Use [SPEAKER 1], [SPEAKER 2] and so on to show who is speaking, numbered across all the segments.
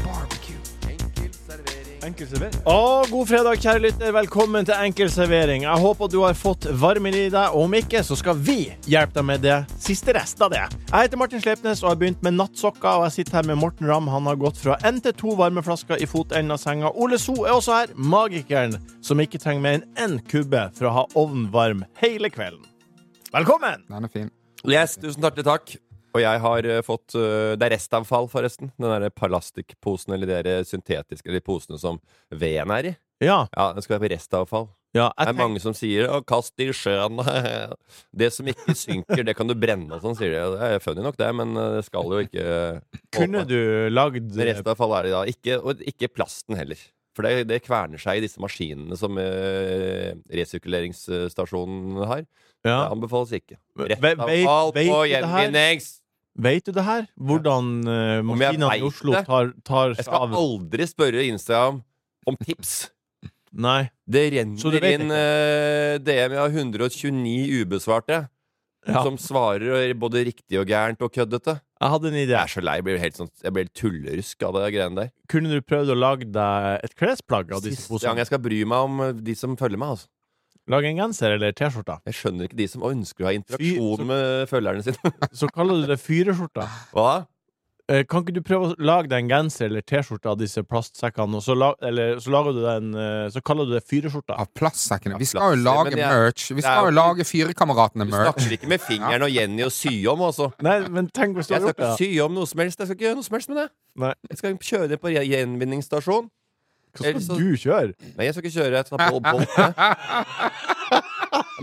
[SPEAKER 1] barbecue.
[SPEAKER 2] Enkel servering.
[SPEAKER 3] Enkel servering. god fredag, kjære lytter. Velkommen til Enkel servering. Jeg håper du har fått varmen i deg. Om ikke, så skal vi hjelpe deg med det siste rest av det. Jeg heter Martin Sleipnes og har begynt med nattsokker. Og jeg sitter her med Morten Ramm. Han har gått fra én til to varmeflasker i fotenden av senga. Ole So er også her. Magikeren som ikke trenger mer enn én kubbe for å ha ovnen varm hele kvelden. Velkommen!
[SPEAKER 1] Den er fin.
[SPEAKER 4] Yes, tusen hjertelig takk. Og jeg har eh, fått eh, Det er restavfall, forresten. Den derre plastikkposen eller de der syntetiske de posene som veden er i.
[SPEAKER 3] Ja,
[SPEAKER 4] Ja, Den skal være på restavfall.
[SPEAKER 3] ja
[SPEAKER 4] Det
[SPEAKER 3] jeg
[SPEAKER 4] er mange som sier 'Å, kast det i sjøen'. Det som ikke synker, det kan du brenne og sånn, sier de. Og Det er funny nok, det, men eh, det skal jo ikke
[SPEAKER 3] Kunne du lagd
[SPEAKER 4] Restavfall er det da. Ikke, og ikke plasten heller. For det, det kverner seg i disse maskinene som eh, resirkuleringsstasjonen har. Det
[SPEAKER 3] ja.
[SPEAKER 4] anbefales ikke.
[SPEAKER 3] Ve- ve-
[SPEAKER 4] Restavfall
[SPEAKER 3] vet
[SPEAKER 4] på
[SPEAKER 3] du det her?
[SPEAKER 4] gjenvinnings!
[SPEAKER 3] Vet du det her? Hvordan uh,
[SPEAKER 4] Om jeg
[SPEAKER 3] maskinene i
[SPEAKER 4] vet
[SPEAKER 3] Oslo
[SPEAKER 4] det?
[SPEAKER 3] tar, tar
[SPEAKER 4] Jeg
[SPEAKER 3] seg
[SPEAKER 4] skal
[SPEAKER 3] av
[SPEAKER 4] aldri spørre Instagram om tips.
[SPEAKER 3] Nei.
[SPEAKER 4] Det
[SPEAKER 3] Så du
[SPEAKER 4] renner
[SPEAKER 3] vet
[SPEAKER 4] inn
[SPEAKER 3] ikke?
[SPEAKER 4] eh, DM av 129 ubesvarte
[SPEAKER 3] Ja.
[SPEAKER 4] som svarer både riktig og gærent og køddete.
[SPEAKER 3] Jeg hadde en idé.
[SPEAKER 4] Jeg er så lei. Jeg blir helt, sånn, jeg blir helt tullerusk av det greiene der.
[SPEAKER 3] Kunne du prøvd å lage deg et klesplagg av disse
[SPEAKER 4] Siste gang
[SPEAKER 3] posene?
[SPEAKER 4] jeg skal bry meg om eh, de som følger meg. Altså.
[SPEAKER 3] Lage en genser eller T-skjorte?
[SPEAKER 4] Jeg skjønner ikke de som ønsker å ha
[SPEAKER 3] Fy, så-
[SPEAKER 4] interaksjon med følgerne sine.
[SPEAKER 3] Så kaller du det fyreskjorta.
[SPEAKER 4] Hva?
[SPEAKER 3] Eh, Kan ikke du prøve å lage deg en genser eller T-skjorte av disse plastsekkene, og så, la, eller, så, lager du den, eh, så kaller du det fyreskjorta?
[SPEAKER 1] Av plastsekkene. Vi
[SPEAKER 4] plast,
[SPEAKER 1] skal jo lage
[SPEAKER 4] men det er-
[SPEAKER 1] merch. Vi
[SPEAKER 4] det er
[SPEAKER 1] skal
[SPEAKER 4] jo
[SPEAKER 1] jo lage Fyrekameratene
[SPEAKER 4] Du
[SPEAKER 1] merch.
[SPEAKER 4] snakker ikke med fingeren og Jenny og sy om, altså.
[SPEAKER 3] Nei, men tenk hvis du
[SPEAKER 4] Jeg
[SPEAKER 3] har
[SPEAKER 4] skal
[SPEAKER 3] gjort det.
[SPEAKER 4] ikke sy om noe som helst. Jeg skal ikke gjøre noe som helst med det.
[SPEAKER 3] Nei.
[SPEAKER 4] Jeg skal kjøre det på re- gjenvinningsstasjon.
[SPEAKER 3] da. Hva
[SPEAKER 4] Ellers
[SPEAKER 3] skal
[SPEAKER 4] så-
[SPEAKER 3] du kjøre?
[SPEAKER 4] Nei, jeg skal ikke kjøre. Jeg tar på Bolt. jeg.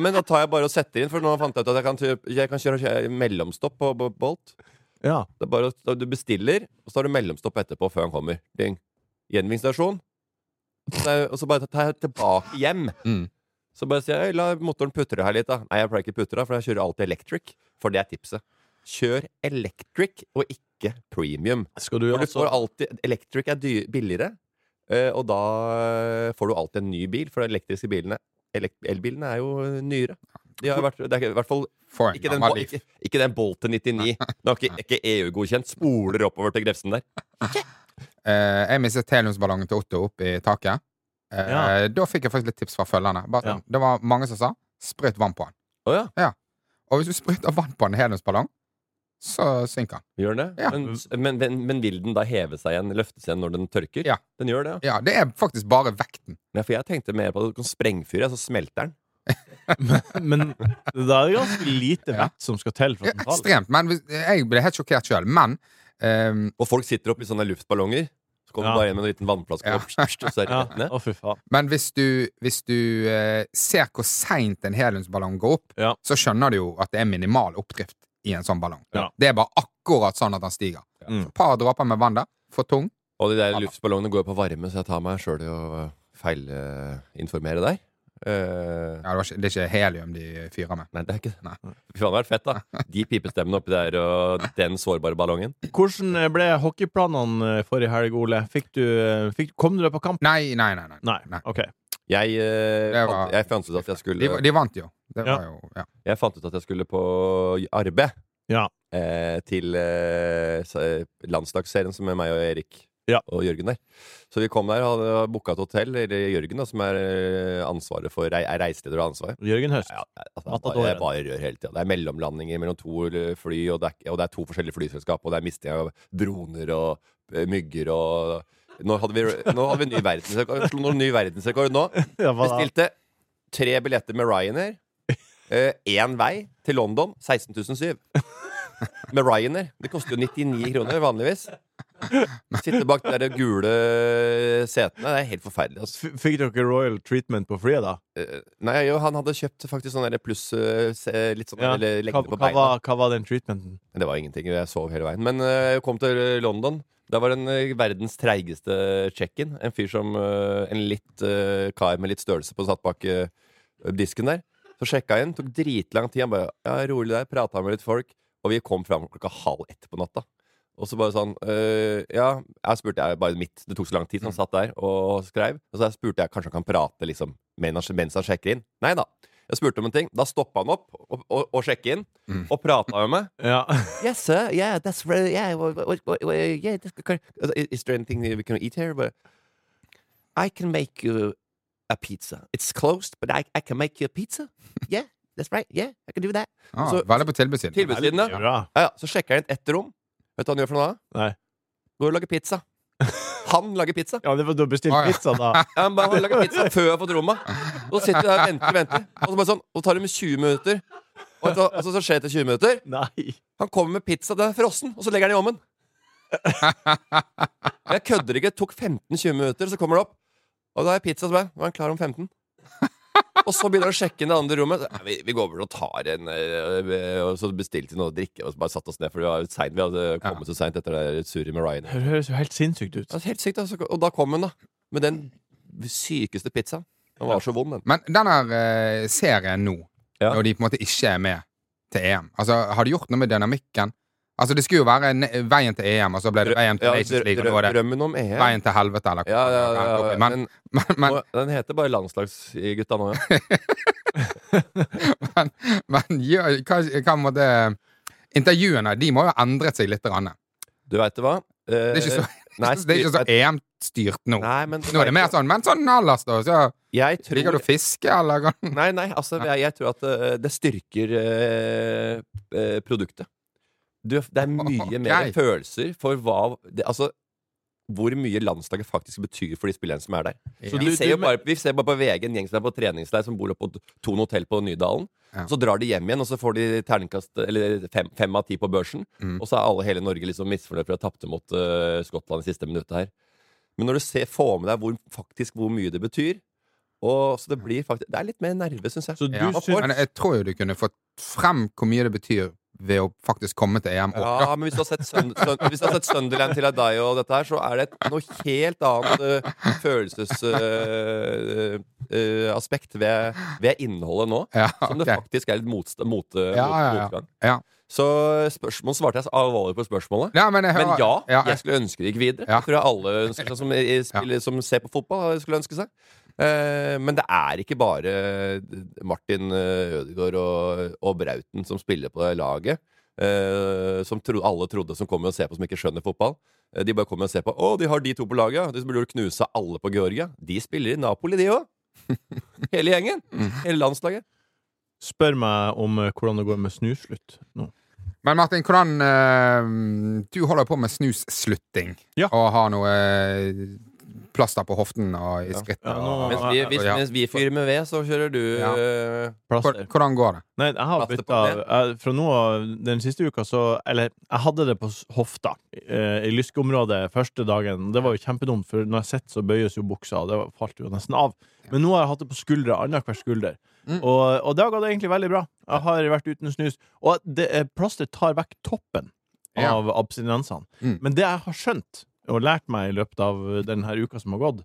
[SPEAKER 4] Men da tar jeg bare og setter inn, for nå fant jeg ut at jeg kan, typ, jeg kan kjøre, kjøre mellomstopp på på Bolt.
[SPEAKER 3] Ja.
[SPEAKER 4] Det er bare å, Du bestiller, og så tar du mellomstopp etterpå før han kommer. Ding. Gjenvinningsstasjon. Så jeg- Og så bare tar jeg tilbake hjem.
[SPEAKER 1] Mm.
[SPEAKER 4] Så bare sier jeg «Øy, la motoren putre her litt, da. Nei, jeg pleier ikke putre, for jeg kjører alltid electric. For det er tipset. Kjør electric og ikke premium.
[SPEAKER 3] Skal du
[SPEAKER 4] For du
[SPEAKER 3] altså
[SPEAKER 4] får alltid Electric er dy- billigere, eh, og da eh, får du alltid en ny bil, for de elektriske bilene elek- Elbilene er jo eh, nyere. De har jo vært, det er i hvert fall
[SPEAKER 1] For en
[SPEAKER 4] ikke den,
[SPEAKER 1] gammel
[SPEAKER 4] Bol-
[SPEAKER 1] liv.
[SPEAKER 4] ikke, ikke den Bolten 99. Den er ikke, ikke EU-godkjent. Spoler oppover til Grefsen der.
[SPEAKER 1] Eh, jeg mistet heliumsballongen til Otto opp i taket. Eh,
[SPEAKER 3] Ja.
[SPEAKER 1] Da fikk jeg faktisk litt tips fra følgerne. Bare, sånn, Det var mange som sa sprøyt vann på den.
[SPEAKER 4] Å ja,
[SPEAKER 1] Og hvis du sprøyter vann på en heliumsballong, så synker den.
[SPEAKER 4] gjør den det?
[SPEAKER 1] Ja.
[SPEAKER 4] Men, men, men, men vil den da heve seg igjen, løftes igjen når den tørker?
[SPEAKER 1] Ja.
[SPEAKER 4] Den gjør det, ja.
[SPEAKER 1] Ja, det er faktisk bare vekten.
[SPEAKER 4] Nei, for jeg tenkte mer på at du kan sprengfyre, så smelter den.
[SPEAKER 3] Men da er det ganske lite
[SPEAKER 1] Ja.
[SPEAKER 3] vett som skal til for
[SPEAKER 1] Ja,
[SPEAKER 3] at den faller.
[SPEAKER 1] ekstremt. Men hvis- jeg ble helt sjokkert sjøl. Men ehm,
[SPEAKER 4] Og folk sitter oppi sånne luftballonger. Så kommer
[SPEAKER 3] Ja.
[SPEAKER 4] du bare inn med en liten vannflaske,
[SPEAKER 1] Ja.
[SPEAKER 4] og, og så er det
[SPEAKER 3] Ja.
[SPEAKER 4] rett ned.
[SPEAKER 3] Å, fy faen.
[SPEAKER 1] Men hvis du, hvis du eh, ser hvor seint en heliumsballong går opp,
[SPEAKER 3] Ja.
[SPEAKER 1] så skjønner du jo at det er minimal oppdrift i en sånn ballong.
[SPEAKER 3] Ja.
[SPEAKER 1] Det er bare akkurat sånn at den stiger.
[SPEAKER 3] Mm.
[SPEAKER 1] Et par dråper med vann der, for tung.
[SPEAKER 4] Og de der
[SPEAKER 1] Ja.
[SPEAKER 4] luftballongene går jo på varme, så jeg tar meg sjøl i å eh, feilinformere deg. Eh,
[SPEAKER 1] Ja, det, var ikke, det er ikke helium de fyrer med.
[SPEAKER 4] nei, det er ikke
[SPEAKER 1] Nei.
[SPEAKER 4] det. Fy faen, det hadde vært fett, da. De pipestemmene oppi der, og den sårbare ballongen.
[SPEAKER 3] Hvordan eh, ble hockeyplanene eh, forrige helg, Ole? Fikk du, eh, fikk, kom du deg på kamp?
[SPEAKER 1] Nei, nei, nei. nei.
[SPEAKER 3] Nei. OK.
[SPEAKER 4] Jeg, eh,
[SPEAKER 1] Det var-
[SPEAKER 4] fant, jeg fant ut at jeg
[SPEAKER 1] De,
[SPEAKER 4] skulle
[SPEAKER 1] de vant jo. Det
[SPEAKER 3] Ja.
[SPEAKER 1] var jo ja.
[SPEAKER 4] Jeg fant ut at jeg skulle på arbeid.
[SPEAKER 3] Ja.
[SPEAKER 4] Eh, til eh, s- eh, landslagsserien som er meg og Erik
[SPEAKER 3] Ja.
[SPEAKER 4] og Jørgen der. Så vi kom der og hadde booka et hotell, eller Jørgen, da, som er eh, ansvaret for rei- er reiseleder og ansvar.
[SPEAKER 3] Jørgen Høst.
[SPEAKER 4] Ja, jeg- altså, jeg
[SPEAKER 3] Matadoren.
[SPEAKER 4] bare, jeg bare rør hele tida. Det er mellomlandinger mellom to eh, fly, og det er, ikke- og det er to forskjellige flyselskap, og det er misting av droner og eh, mygger og Nå hadde vi, nå hadde vi ny verdensrekord. Slo noen ny verdensrekord nå.
[SPEAKER 3] Ja, hva da?
[SPEAKER 4] Bestilte tre billetter med Ryanair. eh, Én vei til London. 16.007 Med Ryanair. Det koster jo 99 kroner vanligvis. Sitte bak de der gule setene. Det er helt forferdelig. Altså.
[SPEAKER 3] F- Fikk dere royal treatment på flyet, da?
[SPEAKER 4] Eh, Nei, jo, han hadde kjøpt faktisk sånn der pluss eh, se- Litt sånn
[SPEAKER 3] Ja.
[SPEAKER 4] eller
[SPEAKER 3] Hva,
[SPEAKER 4] lengde på
[SPEAKER 3] hva,
[SPEAKER 4] beina.
[SPEAKER 3] var, hva var den treatmenten?
[SPEAKER 4] Men Det var ingenting. Jeg sov hele veien. Men eh, jeg kom til eh, London. Der var en eh, verdens treigeste check-in. En fyr som eh, En litt eh, kar med litt størrelse på satt bak eh, disken der. Så sjekka jeg inn. Tok dritlang tid. Han bare ja, rolig der. Prata med litt folk. Og vi kom fram klokka halv ett på natta. Og så bare sånn øh, Ja, jeg spurte jeg bare mitt. Det tok så lang tid, så han satt der og skreiv. Og så jeg spurte jeg kanskje han kan prate liksom, mens han- mens han sjekker inn. Nei da. Jeg spurte om en ting. Da stoppa han opp og, og, og sjekket inn.
[SPEAKER 1] Mm.
[SPEAKER 4] Og prata med meg.
[SPEAKER 3] Ja.
[SPEAKER 4] Yes, sir. Yeah, that's right. Yeah, what, what, what, what, yeah. That's correct. Is- Is there anything that we can eat here? But I can make you a pizza. It's closed, but I, I can make you a pizza. Yeah, that's right. Yeah, I can do that.
[SPEAKER 1] Ah,
[SPEAKER 4] Så-
[SPEAKER 1] veldig på tilbudssiden.
[SPEAKER 4] Tilbudssiden, da.
[SPEAKER 3] Bra.
[SPEAKER 4] Ja, ja, så sjekker jeg inn ett rom. Vet du hva han gjør for noe da?
[SPEAKER 3] Nei.
[SPEAKER 4] Går og lager pizza. Han lager pizza.
[SPEAKER 3] Ja, det var du bestilte
[SPEAKER 1] Ah, ja.
[SPEAKER 3] pizza, da.
[SPEAKER 4] Ja, Han bare han lager pizza før jeg har fått rommet. Og så sitter jeg der og venter, venter. Og så bare sånn, og tar det med 20 minutter. Og, så, og så, så skjer det etter 20 minutter.
[SPEAKER 3] Nei.
[SPEAKER 4] Han kommer med pizza, den er frossen, og så legger han i ovnen. Jeg kødder ikke. Det tok 15-20 minutter, så kommer det opp. Og da er pizza som er. Nå er han klar om 15. Og så begynner han å sjekke inn det andre rommet. Så, Vi, vi går over og tar en eh, Og så bestilte vi noe å drikke, og så bare satte oss ned, for det var seint. Vi hadde kommet så seint etter det der surret med Ryan.
[SPEAKER 3] Det høres jo helt sinnssykt ut.
[SPEAKER 4] Det var helt sykt, altså. Og da kom hun, da. Med den sykeste pizzaen. Den var så vond, den.
[SPEAKER 1] Men den her eh, serien nå,
[SPEAKER 4] Ja.
[SPEAKER 1] når de på en måte ikke er med til EM Altså, Har det gjort noe med dynamikken? Altså, Det skulle jo være ne veien til EM, og så ble det veien til
[SPEAKER 4] Ja,
[SPEAKER 1] Nations
[SPEAKER 4] drø-
[SPEAKER 1] League, og
[SPEAKER 4] drø-
[SPEAKER 1] så var det
[SPEAKER 4] drømmen om EM.
[SPEAKER 1] veien til helvete, eller
[SPEAKER 4] Ja, ja, ja, ja, ja.
[SPEAKER 1] Men,
[SPEAKER 4] Men,
[SPEAKER 1] men, men,
[SPEAKER 4] og den heter bare Landslagsgutta nå, ja.
[SPEAKER 1] men, men gjør- hva, hva må det Intervjuene de må jo ha endret seg litt. Grann.
[SPEAKER 4] Du veit det hva? Eh,
[SPEAKER 1] Det er ikke så,
[SPEAKER 4] nei,
[SPEAKER 1] det er ikke så
[SPEAKER 4] styr-
[SPEAKER 1] EM-styrt nå.
[SPEAKER 4] Nei, men
[SPEAKER 1] Nå er det mer sånn Men sånn ellers, da? Så
[SPEAKER 4] Jeg
[SPEAKER 1] liker
[SPEAKER 4] tror
[SPEAKER 1] du å fiske, eller?
[SPEAKER 4] Nei, nei, altså jeg, jeg tror at eh, det styrker eh, eh, produktet. Du, det er mye
[SPEAKER 1] Ok.
[SPEAKER 4] mer følelser for hva det, Altså hvor mye landslaget faktisk betyr for de spillerne som er der.
[SPEAKER 1] Ja.
[SPEAKER 4] vi, ser jo bare, vi ser bare på VG en gjeng som er på treningsleir, som bor oppe på Thon hotell på Nydalen.
[SPEAKER 1] Ja.
[SPEAKER 4] Så drar de hjem igjen, og så får de terningkast Eller fem, fem av ti på børsen.
[SPEAKER 1] Mm.
[SPEAKER 4] Og så er alle hele Norge liksom misfornøyd for å ha tapt mot eh, Skottland i siste minuttet her. Men når du ser, får med deg hvor, faktisk hvor mye det betyr og, Så det blir faktisk Det er litt mer nerve, syns jeg.
[SPEAKER 3] Så du
[SPEAKER 1] Ja.
[SPEAKER 3] syns
[SPEAKER 1] Men jeg tror jo du kunne fått frem hvor mye det betyr ved å faktisk komme til E EM. Og,
[SPEAKER 4] Ja, men hvis du har sett, Sun- Sun- hvis du har sett Sunderland til Adai og dette her, så er det et- noe helt annet eh, følelsesaspekt eh, ved, ved innholdet nå.
[SPEAKER 1] ja,
[SPEAKER 4] Som det
[SPEAKER 1] ok.
[SPEAKER 4] faktisk Sånn er litt motst- mot, mot,
[SPEAKER 1] Ja, ja, ja.
[SPEAKER 4] motgang.
[SPEAKER 1] Ja.
[SPEAKER 4] Så spørsmål svarte jeg så alvorlig på spørsmålet.
[SPEAKER 1] Ja, men, jeg
[SPEAKER 4] Men
[SPEAKER 1] hører-
[SPEAKER 4] ja,
[SPEAKER 1] ja,
[SPEAKER 4] jeg skulle ønske det gikk videre.
[SPEAKER 1] Ja.
[SPEAKER 4] Det tror jeg alle ønsker seg som, i- spiller, som ser på fotball, skulle ønske seg. Eh, men det er ikke bare Martin eh, Ødegaard og, og Brauten som spiller på det laget, eh, som tro, alle trodde som kommer og ser på, som ikke skjønner fotball. Eh, De bare kommer og ser på. Å, de har de to på laget! ja. De som burde knuse alle på Georgia. De spiller i Napoli, de òg! Hele gjengen.
[SPEAKER 1] Mm.
[SPEAKER 4] Hele landslaget.
[SPEAKER 3] Spør meg om eh, hvordan det går med snuslutt nå.
[SPEAKER 1] Men Martin, hvordan eh, Du holder på med snusslutting
[SPEAKER 3] Ja.
[SPEAKER 1] og har noe eh, plaster på hoften og i
[SPEAKER 4] Ja.
[SPEAKER 1] skrittet.
[SPEAKER 3] Ja, nå-
[SPEAKER 1] og-
[SPEAKER 4] Mens vi, hvis,
[SPEAKER 1] Ja.
[SPEAKER 4] mens vi fyrer med ved, så kjører du
[SPEAKER 1] Ja.
[SPEAKER 4] eh,
[SPEAKER 1] Hvor-
[SPEAKER 3] Plaster.
[SPEAKER 1] Hvordan går det?
[SPEAKER 3] Nei, jeg har
[SPEAKER 4] Plaster på
[SPEAKER 3] bytta Fra nå av den siste uka, så Eller, jeg hadde det på s- hofta, eh, i lyskeområdet, første dagen. Det var jo kjempedumt, for når jeg sitter, så bøyes jo buksa, og det var- falt jo nesten av. Men nå har jeg hatt det på skuldra, annenhver skulder.
[SPEAKER 1] Mm.
[SPEAKER 3] Og, og det har gått egentlig veldig bra. Jeg har vært uten snus. Og det, eh, plaster tar vekk toppen
[SPEAKER 1] Ja.
[SPEAKER 3] av abstinensene.
[SPEAKER 1] Mm.
[SPEAKER 3] Men det jeg har skjønt, og lært meg i løpet av denne uka som har gått,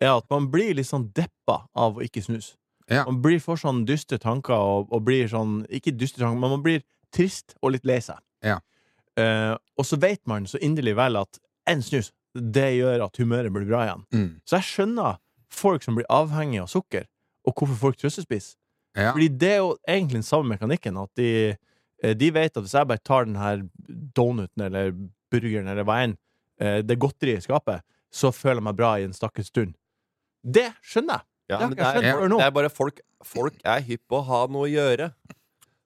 [SPEAKER 3] er at man blir litt sånn deppa av å ikke snus.
[SPEAKER 1] Ja.
[SPEAKER 3] Man blir for sånn dystre tanker og, og blir sånn Ikke dystre tanker, men man blir trist og litt lei seg.
[SPEAKER 1] Ja.
[SPEAKER 3] Eh, og så vet man så inderlig vel at én snus, det gjør at humøret blir bra igjen.
[SPEAKER 1] Mm.
[SPEAKER 3] Så jeg skjønner folk som blir avhengige av sukker, og hvorfor folk trøstespiser.
[SPEAKER 1] Ja.
[SPEAKER 3] Fordi det er jo egentlig den samme mekanikken. At de, eh, de vet at hvis jeg bare tar den her donuten eller burgeren eller hva enn, eh, det godteriet i skapet, så føler jeg meg bra i en stakkars stund. Det skjønner jeg!
[SPEAKER 4] Ja,
[SPEAKER 3] Det har ikke jeg
[SPEAKER 4] men det,
[SPEAKER 3] skjønt før
[SPEAKER 4] er,
[SPEAKER 3] nå.
[SPEAKER 4] det er bare folk Folk er hypp på å ha noe å gjøre.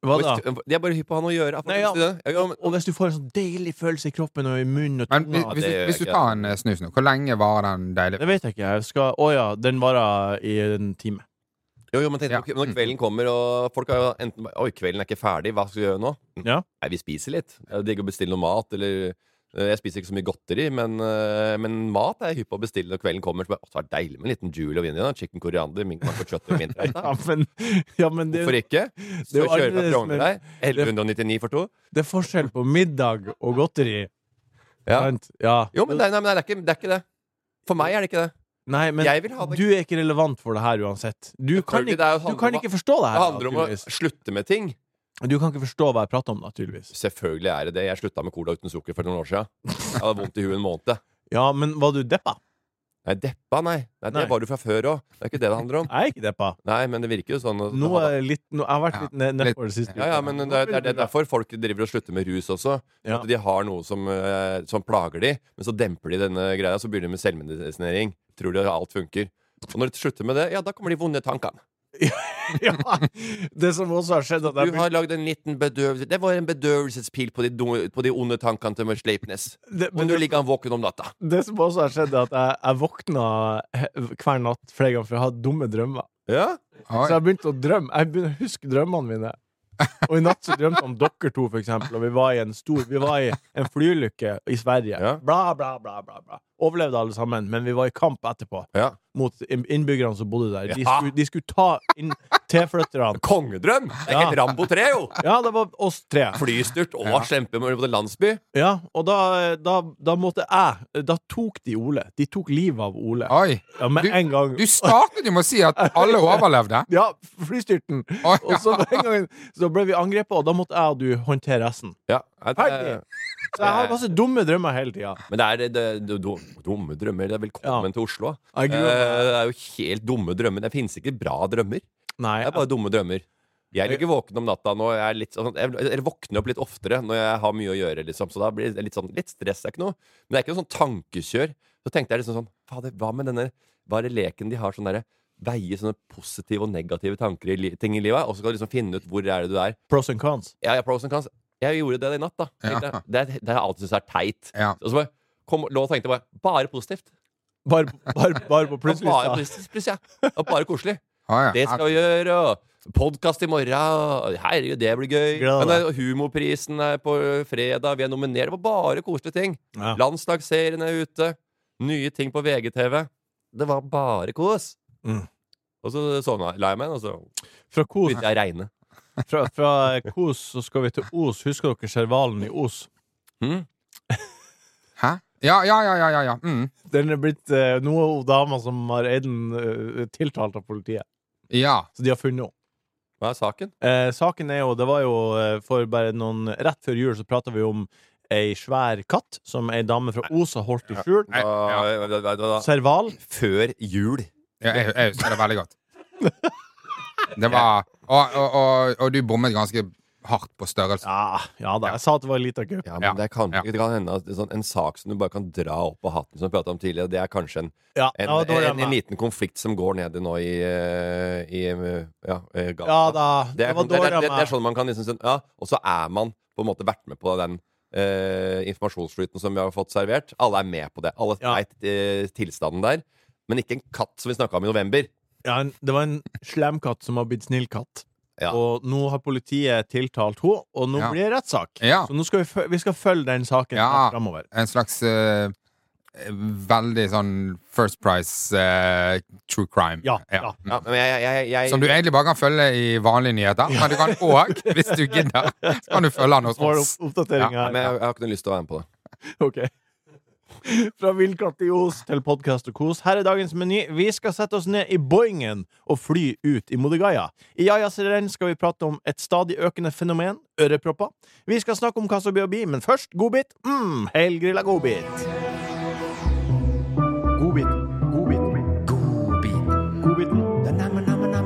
[SPEAKER 3] Hva da?
[SPEAKER 4] De er bare hypp på å ha noe å gjøre.
[SPEAKER 3] Nei, ja.
[SPEAKER 4] Ja, men,
[SPEAKER 3] Og hvis du får en sånn deilig følelse i kroppen og i munnen og
[SPEAKER 1] Men
[SPEAKER 3] tunga
[SPEAKER 1] hvis, hvis,
[SPEAKER 4] det
[SPEAKER 1] du-
[SPEAKER 4] gjør jeg
[SPEAKER 1] hvis du
[SPEAKER 4] ikke.
[SPEAKER 1] tar en eh, snus nå, hvor lenge varer den deilig?
[SPEAKER 3] Det vet jeg ikke. Jeg skal, å ja, den varer i en time.
[SPEAKER 4] jo, jo, men tenk,
[SPEAKER 1] Ja.
[SPEAKER 4] ok, når
[SPEAKER 3] Mm.
[SPEAKER 4] kvelden kommer, og folk har jo enten bare, Oi, kvelden er ikke ferdig. Hva skal vi gjøre nå?
[SPEAKER 3] Ja.
[SPEAKER 4] Nei, vi spiser litt. Det er Digg å bestille noe mat. Eller eh, Jeg spiser ikke så mye godteri, men, eh, men mat er jeg hypp på å bestille når kvelden kommer. Så bare, å, det er deilig med en liten Julie og Vinja. Chicken koriander, mink macochotti og
[SPEAKER 3] Ja,
[SPEAKER 4] mintrett.
[SPEAKER 3] men, ja, men det,
[SPEAKER 4] Hvorfor ikke?
[SPEAKER 3] det er
[SPEAKER 4] Så
[SPEAKER 3] jo
[SPEAKER 4] kjører vi fra
[SPEAKER 3] annerledes, men-
[SPEAKER 4] Frogner der. 1199 for to.
[SPEAKER 3] det er forskjell på middag og godteri.
[SPEAKER 4] Ja.
[SPEAKER 3] Sant? Ja.
[SPEAKER 4] Jo, men, nei, nei, men det, er ikke, det er ikke det. For meg er det ikke det.
[SPEAKER 3] Nei, men
[SPEAKER 4] Jeg vil ha det-
[SPEAKER 3] du er ikke relevant for det her uansett. Du kan, ikke,
[SPEAKER 4] Selvfølgelig, det er jo
[SPEAKER 3] du
[SPEAKER 4] handler
[SPEAKER 3] kan
[SPEAKER 4] om-
[SPEAKER 3] ikke forstå det
[SPEAKER 4] Det
[SPEAKER 3] her.
[SPEAKER 4] handler om å
[SPEAKER 3] naturligvis.
[SPEAKER 4] slutte med ting.
[SPEAKER 3] Du kan ikke forstå hva jeg prater om, naturligvis.
[SPEAKER 4] Selvfølgelig er det det. Jeg slutta med cola uten sukker for noen år siden. Jeg hadde vondt i huet en måned.
[SPEAKER 3] Ja, men var du deppa?
[SPEAKER 4] Nei, deppa, nei. nei det
[SPEAKER 3] Nei.
[SPEAKER 4] var du fra før òg. Det er ikke det det handler om.
[SPEAKER 3] Jeg er ikke deppa.
[SPEAKER 4] Nei, men det virker jo sånn. at-
[SPEAKER 3] Nå er jeg litt, nå, jeg har vært
[SPEAKER 1] Ja,
[SPEAKER 3] litt ned-
[SPEAKER 1] litt-
[SPEAKER 3] nedfor det siste.
[SPEAKER 4] ja, ja, men det er, det er- det er derfor folk driver og slutter med rus også.
[SPEAKER 3] Ja.
[SPEAKER 4] At de har noe som, eh, som plager de, men så demper de denne greia, så begynner de med selvmedisinering. Tror de at alt funker. Og når de slutter med det, ja, da kommer de vonde tankene.
[SPEAKER 3] Ja, det som også har skjedd, at
[SPEAKER 4] Du
[SPEAKER 3] jeg
[SPEAKER 4] har lagd en liten bedøvelse Det var en bedøvelsespil på de, do- på de onde tankene til Mørs Sleipnes.
[SPEAKER 3] det,
[SPEAKER 4] Og
[SPEAKER 3] men
[SPEAKER 4] nå
[SPEAKER 3] det,
[SPEAKER 4] ligger han våken om natta.
[SPEAKER 3] det som også har skjedd, er at jeg, jeg våkna he- hver natt flere ganger for jeg hadde dumme drømmer.
[SPEAKER 4] Ja?
[SPEAKER 1] Oi.
[SPEAKER 3] Så jeg begynte å drømme. Jeg begynte å huske drømmene mine. Og i natt så drømte jeg om dere to, for eksempel, og vi var i en stor Vi var i en flyulykke i Sverige.
[SPEAKER 4] Ja.
[SPEAKER 3] Bla, bla, bla, bla, bla. Overlevde alle sammen, men vi var i kamp etterpå
[SPEAKER 4] ja.
[SPEAKER 3] mot inn- innbyggerne som bodde der. De
[SPEAKER 4] Ja.
[SPEAKER 3] skulle, de skulle ta inn tilflytterne.
[SPEAKER 4] Kongedrøm! Det er
[SPEAKER 3] Ja.
[SPEAKER 4] helt Rambo 3, jo!
[SPEAKER 3] Ja, det var oss tre.
[SPEAKER 4] Flystyrt og kjempe mot en landsby.
[SPEAKER 3] Ja, og da, da, da måtte jeg Da tok de Ole. De tok livet av Ole.
[SPEAKER 1] Oi.
[SPEAKER 3] Ja, med
[SPEAKER 1] Du-
[SPEAKER 3] en gang.
[SPEAKER 1] Du startet jo med å si at alle overlevde.
[SPEAKER 3] Ja, flystyrten!
[SPEAKER 1] Oi,
[SPEAKER 3] Og så med en gang så ble vi angrepet, og da måtte jeg og du håndtere resten.
[SPEAKER 4] Ja, nei, det er,
[SPEAKER 3] Ferdig. Så jeg har masse dumme drømmer hele tida.
[SPEAKER 4] men det er det, det, dum- dumme drømmer. Det er velkommen
[SPEAKER 3] Ja.
[SPEAKER 4] til Oslo.
[SPEAKER 3] Jeg gruer
[SPEAKER 4] Eh,
[SPEAKER 3] meg.
[SPEAKER 4] det er jo helt dumme drømmer. Det finnes ikke bra drømmer.
[SPEAKER 3] Nei,
[SPEAKER 4] Det er bare dumme drømmer. Jeg ligger våken om natta nå. Jeg, er litt, sånn- jeg, jeg våkner opp litt oftere når jeg har mye å gjøre. Liksom. Så da blir det litt sånn Litt stress er ikke noe. Men det er ikke noe sånn tankekjør. Så tenkte jeg liksom sånn Fader, hva med denne Hva er det leken de har sånn derre Veie sånne positive og negative tanker i li ting i livet, og så skal du liksom finne ut hvor er det du er.
[SPEAKER 3] pros and cons.
[SPEAKER 4] Ja, ja, pros and cons. Jeg gjorde det i natt, da. Tenkte jeg, Det, er- det har jeg alltid syntes er teit.
[SPEAKER 1] Ja.
[SPEAKER 4] Og så bare kom, lå og tenkte bare Bare positivt.
[SPEAKER 3] Bare, bare, bare på
[SPEAKER 4] Og bare
[SPEAKER 3] plusslista.
[SPEAKER 4] positivt, pluss, ja. Og bare koselig.
[SPEAKER 1] Oi,
[SPEAKER 4] Det skal vi gjøre. og Podkast i morgen. og Herregud, det blir gøy.
[SPEAKER 3] Gleder
[SPEAKER 4] Men det er humorprisen er på fredag. Vi er nominert på bare koselige ting.
[SPEAKER 3] Ja.
[SPEAKER 4] Landslagsserien er ute. Nye ting på VGTV. Det var bare kos.
[SPEAKER 3] Mm.
[SPEAKER 4] Og så sovna jeg, la jeg meg, og så
[SPEAKER 3] Fra kos,
[SPEAKER 4] begynte jeg å regne.
[SPEAKER 3] fra, fra kos så skal vi til Os. Husker dere Servalen i Os?
[SPEAKER 4] Hm?
[SPEAKER 1] Hæ? Ja, ja, ja, ja. ja, ja. Mm.
[SPEAKER 3] Den er blitt eh, noe av dama som har eid den eh, tiltalt av politiet.
[SPEAKER 1] ja.
[SPEAKER 3] Så de har funnet henne.
[SPEAKER 4] Hva er saken?
[SPEAKER 3] Eh, saken er jo, det var jo eh, for bare noen Rett før jul så prata vi om ei svær katt som ei dame fra Os har holdt i skjul.
[SPEAKER 1] Nei, ja.
[SPEAKER 4] Da- da- da- da- da-
[SPEAKER 3] Serval.
[SPEAKER 4] Før jul.
[SPEAKER 1] Ja, jeg, jeg husker det veldig godt. Det var Og, og, og, og du bommet ganske hardt på størrelse.
[SPEAKER 3] Ja, ja da. Jeg sa at det var ei lita gaupe.
[SPEAKER 4] Ja, men
[SPEAKER 1] Ja,
[SPEAKER 4] Det, kan,
[SPEAKER 1] ja.
[SPEAKER 4] det kan hende at det er sånn, en sak som du bare kan dra opp av hatten, som vi pratet om tidligere, det er kanskje en
[SPEAKER 3] Ja,
[SPEAKER 4] En,
[SPEAKER 3] ja, da er jeg
[SPEAKER 4] en, en
[SPEAKER 3] med.
[SPEAKER 4] liten konflikt som går nede nå i, eh, i eh, ja, eh, Gaza.
[SPEAKER 3] ja da.
[SPEAKER 4] det,
[SPEAKER 3] Det
[SPEAKER 4] er,
[SPEAKER 3] var
[SPEAKER 4] det,
[SPEAKER 3] dårlig
[SPEAKER 4] er,
[SPEAKER 3] av
[SPEAKER 4] det, det er
[SPEAKER 3] meg.
[SPEAKER 4] sånn man kan liksom sånn, ja, Og så er man på en måte vært med på den eh, informasjonsflyten som vi har fått servert. Alle er med på det. Alle
[SPEAKER 3] Ja.
[SPEAKER 4] vet eh, tilstanden der. Men ikke en katt som vi snakka om i
[SPEAKER 1] Mm.
[SPEAKER 4] november.
[SPEAKER 3] Ja, en- det var en slemkatt som har blitt snillkatt.
[SPEAKER 4] Ja.
[SPEAKER 3] Og nå har politiet tiltalt henne, og nå
[SPEAKER 1] Ja.
[SPEAKER 3] blir det rettssak.
[SPEAKER 1] Ja.
[SPEAKER 3] Så nå skal vi, fø- vi skal følge den saken
[SPEAKER 1] Ja.
[SPEAKER 3] framover.
[SPEAKER 1] En slags eh, veldig sånn First Price eh, true crime. Mm.
[SPEAKER 3] Ja, ja.
[SPEAKER 4] Ja, men jeg, jeg, jeg,
[SPEAKER 1] Som du egentlig bare kan følge i vanlige nyheter, men du kan òg, hvis du gidder, så kan du følge den hos
[SPEAKER 3] Nå er det
[SPEAKER 1] oss.
[SPEAKER 3] opp- oppdatering
[SPEAKER 1] Ja,
[SPEAKER 4] ja,
[SPEAKER 3] her.
[SPEAKER 4] men jeg, jeg har ikke noe lyst til å være med på det.
[SPEAKER 3] Ok. Fra villkatt i Os til podkast og kos. Her er dagens meny. Vi skal sette oss ned i Boingen og fly ut i Modigaya. I Jajas renn skal vi prate om et stadig økende fenomen ørepropper. Vi skal snakke om hva som blir å bli, men først godbit. Mm, helgrilla godbit. Godbit. Godbit. Godbiten.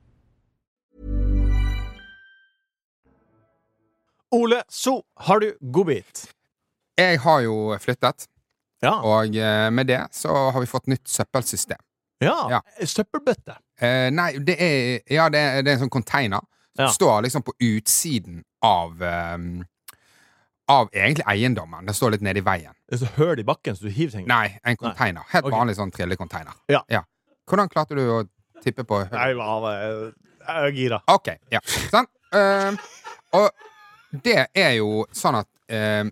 [SPEAKER 3] Ole, så har du godbit.
[SPEAKER 1] Jeg har jo flyttet,
[SPEAKER 3] Ja.
[SPEAKER 1] og eh, med det så har vi fått nytt søppelsystem.
[SPEAKER 3] ja.
[SPEAKER 1] Ja.
[SPEAKER 3] Søppelbøtte.
[SPEAKER 1] Eh, nei, det er, ja, det, er, det er en sånn container som
[SPEAKER 3] Ja.
[SPEAKER 1] står liksom på utsiden av eh, Av egentlig eiendommen. Det står litt nede i veien.
[SPEAKER 3] Det er så høl i bakken, så du hiver ting.
[SPEAKER 1] Nei, en container. Helt
[SPEAKER 3] Ok.
[SPEAKER 1] vanlig sånn trillecontainer.
[SPEAKER 3] Ja.
[SPEAKER 1] Hvordan klarte du å tippe på
[SPEAKER 3] Nei, hva var- jeg er gira.
[SPEAKER 1] OK. Ja. Sånn. Eh, og det er jo sånn at eh,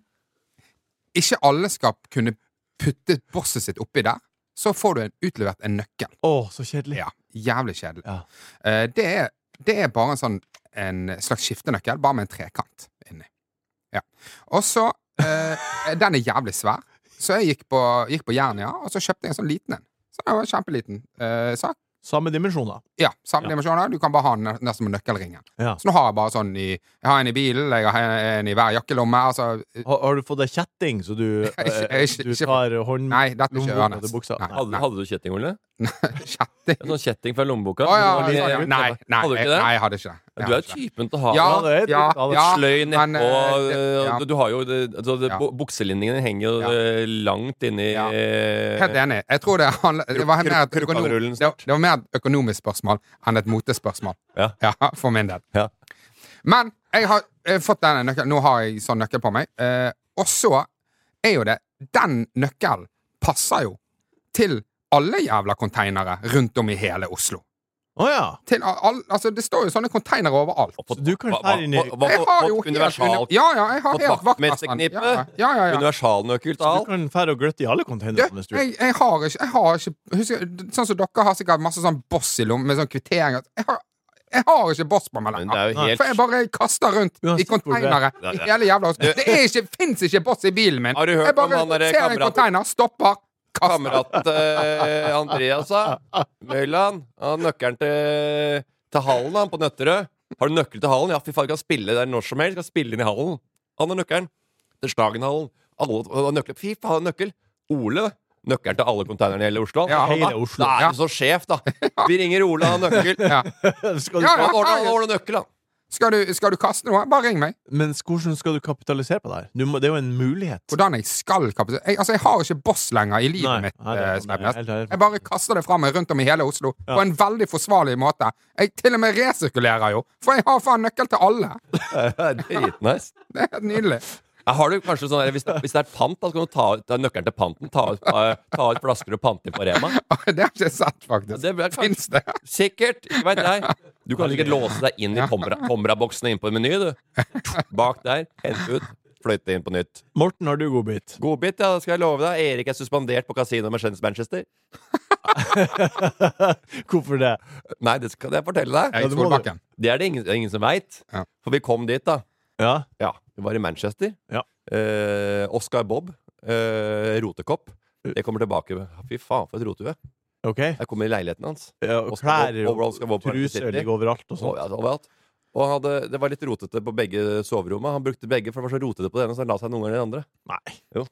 [SPEAKER 1] ikke alle skal kunne putte bosset sitt oppi der. Så får du en, utlevert en nøkkel.
[SPEAKER 3] Å, så kjedelig.
[SPEAKER 1] Ja, Jævlig kjedelig.
[SPEAKER 3] Ja.
[SPEAKER 1] Eh, det, er, det er bare en sånn en slags skiftenøkkel, bare med en trekant inni. Ja. Og så eh, Den er jævlig svær, så jeg gikk på, gikk på Jernia, og så kjøpte jeg en sånn liten en. Så det var en kjempeliten eh, sak.
[SPEAKER 3] Samme dimensjoner.
[SPEAKER 1] Ja, samme
[SPEAKER 3] Ja.
[SPEAKER 1] dimensjoner. Du kan bare ha den ne- nesten med nøkkelringen.
[SPEAKER 3] Ja.
[SPEAKER 1] Så nå har jeg bare sånn i Jeg har en i bilen, jeg har en i hver jakkelomme. Altså,
[SPEAKER 3] Har, har du fått deg kjetting, så du, eh,
[SPEAKER 1] Ikke- ikke-
[SPEAKER 3] du
[SPEAKER 1] ikke-
[SPEAKER 3] tar hånd...
[SPEAKER 1] nei, dette er ikke
[SPEAKER 3] Lommeboka
[SPEAKER 1] Ørnes.
[SPEAKER 3] til buksa.
[SPEAKER 1] Nei,
[SPEAKER 3] Nei.
[SPEAKER 4] Hadde,
[SPEAKER 1] nei.
[SPEAKER 4] hadde du kjetting, Ole?
[SPEAKER 1] Kjetting.
[SPEAKER 4] En sånn kjetting fra lommeboka?
[SPEAKER 1] Å ja,
[SPEAKER 4] Det var litt-
[SPEAKER 1] ja, ja. Nei, nei,
[SPEAKER 4] hadde du
[SPEAKER 1] jeg,
[SPEAKER 4] ikke det?
[SPEAKER 1] nei, jeg hadde ikke det. Jeg
[SPEAKER 4] Du
[SPEAKER 1] hadde
[SPEAKER 4] er
[SPEAKER 1] ikke det.
[SPEAKER 4] typen til å ha
[SPEAKER 1] Ja,
[SPEAKER 3] Ja, det er-
[SPEAKER 1] ja,
[SPEAKER 3] det er
[SPEAKER 1] ja,
[SPEAKER 4] Sløy
[SPEAKER 1] men,
[SPEAKER 4] nedpå
[SPEAKER 1] eh,
[SPEAKER 4] øh,
[SPEAKER 1] ja.
[SPEAKER 4] du- Du har jo det- altså, det,
[SPEAKER 1] Ja.
[SPEAKER 4] bu- Bukselinjene henger jo
[SPEAKER 1] Ja.
[SPEAKER 4] øh, langt inni
[SPEAKER 1] Ja.
[SPEAKER 4] øh,
[SPEAKER 1] Helt enig. Jeg tror det, handler- det, var mer et
[SPEAKER 4] Krukk-
[SPEAKER 1] økonom,
[SPEAKER 4] krukkaderullen
[SPEAKER 1] det, var, det var mer et økonomisk spørsmål enn et motespørsmål.
[SPEAKER 4] Ja.
[SPEAKER 1] for min del.
[SPEAKER 4] Ja.
[SPEAKER 1] Men jeg har eh, fått denne nøkkelen. Nå har jeg sånn nøkkel på meg. Eh, og så er jo det Den nøkkelen passer jo til alle jævla konteinere rundt om i hele Oslo.
[SPEAKER 3] Å ja.
[SPEAKER 1] Til a- all, altså, det står jo sånne konteinere overalt.
[SPEAKER 3] Så du kan
[SPEAKER 4] Hva-
[SPEAKER 3] ta
[SPEAKER 4] hva-
[SPEAKER 3] inn i
[SPEAKER 4] hva- hva-
[SPEAKER 1] Jeg har jo
[SPEAKER 4] fått
[SPEAKER 1] helt
[SPEAKER 4] universal-
[SPEAKER 1] uni- Ja, ja, jeg har
[SPEAKER 4] fått
[SPEAKER 1] helt vaktmesteren.
[SPEAKER 4] vaktmesterknippe,
[SPEAKER 1] Ja, ja, ja, ja.
[SPEAKER 4] universalnøkkel
[SPEAKER 3] Du
[SPEAKER 4] til alt.
[SPEAKER 3] kan fære og gløtte i alle containerne hvis du
[SPEAKER 1] Du, jeg, jeg har ikke, jeg har ikke husker, Sånn som dere har sikkert masse sånn boss i lommen med sånn kvitteringer. Jeg har, jeg har ikke boss på meg
[SPEAKER 4] Men det
[SPEAKER 1] lenger.
[SPEAKER 4] er jo
[SPEAKER 3] Nei.
[SPEAKER 4] helt
[SPEAKER 1] For jeg bare kaster rundt
[SPEAKER 3] Uansett
[SPEAKER 1] i konteinere
[SPEAKER 4] hvor det er.
[SPEAKER 1] i hele jævla Oslo. Det er ikke, finnes ikke boss i bilen min.
[SPEAKER 4] Har du hørt
[SPEAKER 1] Jeg bare
[SPEAKER 4] om han der
[SPEAKER 1] ser en
[SPEAKER 4] kameraten?
[SPEAKER 1] konteiner, stopper, kaster.
[SPEAKER 4] kamerat eh, Andreas da. Møyland. Han har nøkkelen til, til hallen han på Nøtterøy. Har du nøkkel til hallen? Ja, fy faen, vi kan spille der når som helst. Vi Kan spille inn i hallen. Han har nøkkelen. Til Slagenhallen. Alle han har nøkkel. Fy faen, han har nøkkel. Ole. Nøkkelen til alle konteinerne i hele Oslo.
[SPEAKER 1] Ja,
[SPEAKER 4] han,
[SPEAKER 3] hele
[SPEAKER 4] da.
[SPEAKER 3] Oslo.
[SPEAKER 4] Da er
[SPEAKER 1] Ja.
[SPEAKER 4] du så sjef, da. Vi ringer Ole, han har nøkkel.
[SPEAKER 1] Ja.
[SPEAKER 3] skal
[SPEAKER 1] Ja,
[SPEAKER 3] du,
[SPEAKER 1] ja.
[SPEAKER 4] Han ordner- han ordner nøkkel, han.
[SPEAKER 1] Skal, du, skal du kaste noe? Bare ring meg.
[SPEAKER 3] Men hvordan skal du kapitalisere på det her? Du må, det er jo en mulighet.
[SPEAKER 1] Hvordan jeg skal kapitalisere jeg, Altså, jeg har ikke boss lenger i livet
[SPEAKER 3] Nei,
[SPEAKER 1] mitt.
[SPEAKER 3] nei, det er-
[SPEAKER 1] eh, Sleipnes.
[SPEAKER 3] helt- helt-
[SPEAKER 1] jeg bare kaster det fra meg rundt om i hele Oslo
[SPEAKER 3] Ja.
[SPEAKER 1] på en veldig forsvarlig måte. Jeg til og med resirkulerer jo, for jeg har faen nøkkel til alle.
[SPEAKER 4] Dritnice.
[SPEAKER 1] Det er helt nydelig.
[SPEAKER 4] Ja, Har du kanskje sånn der, hvis, det- hvis det er pant, da, så kan du ta ut ta nøkkelen til panten. Ta ut, ta, ta ut flasker og pante inn på Rema.
[SPEAKER 1] Det har jeg ikke sett, faktisk.
[SPEAKER 4] Ja, det blir kanskje-
[SPEAKER 1] Fins det?
[SPEAKER 4] Sikkert. ikke Vet jeg. Du kan sikkert låse deg inn i Tomra- Tomra-boksene inn på Meny, du. Bak der. Hente ut. Fløyte inn på nytt.
[SPEAKER 3] Morten, har du godbit?
[SPEAKER 4] Godbit, ja, det skal jeg love deg. Erik er suspendert på kasino med Shens Manchester.
[SPEAKER 3] Hvorfor det?
[SPEAKER 4] Nei, det skal jeg fortelle deg.
[SPEAKER 1] Jeg
[SPEAKER 3] Ja,
[SPEAKER 1] gikk
[SPEAKER 3] det må du.
[SPEAKER 1] Solbakken.
[SPEAKER 4] Det er det ingen, det er ingen som veit.
[SPEAKER 1] Ja.
[SPEAKER 4] For vi kom dit, da.
[SPEAKER 3] Ja.
[SPEAKER 4] Ja, Vi var i Manchester.
[SPEAKER 3] Ja.
[SPEAKER 4] Eh, Oscar Bob. Eh, rotekopp.
[SPEAKER 3] Mm.
[SPEAKER 4] Jeg kommer tilbake. Fy faen, for et rotehue.
[SPEAKER 3] Ok.
[SPEAKER 4] Jeg kommer i leiligheten hans.
[SPEAKER 3] Ja, og
[SPEAKER 4] Og
[SPEAKER 3] klær
[SPEAKER 4] skal gå- overall skal gå
[SPEAKER 3] og
[SPEAKER 4] på
[SPEAKER 3] truser
[SPEAKER 4] City.
[SPEAKER 3] ligger overalt og
[SPEAKER 4] Og,
[SPEAKER 3] sånn.
[SPEAKER 4] ja, overalt. Og han hadde, det var litt rotete på begge soverommene. Han brukte begge, for det var så rotete på det ene, så han la seg noen ganger i det andre.
[SPEAKER 3] Nei.
[SPEAKER 4] Jo.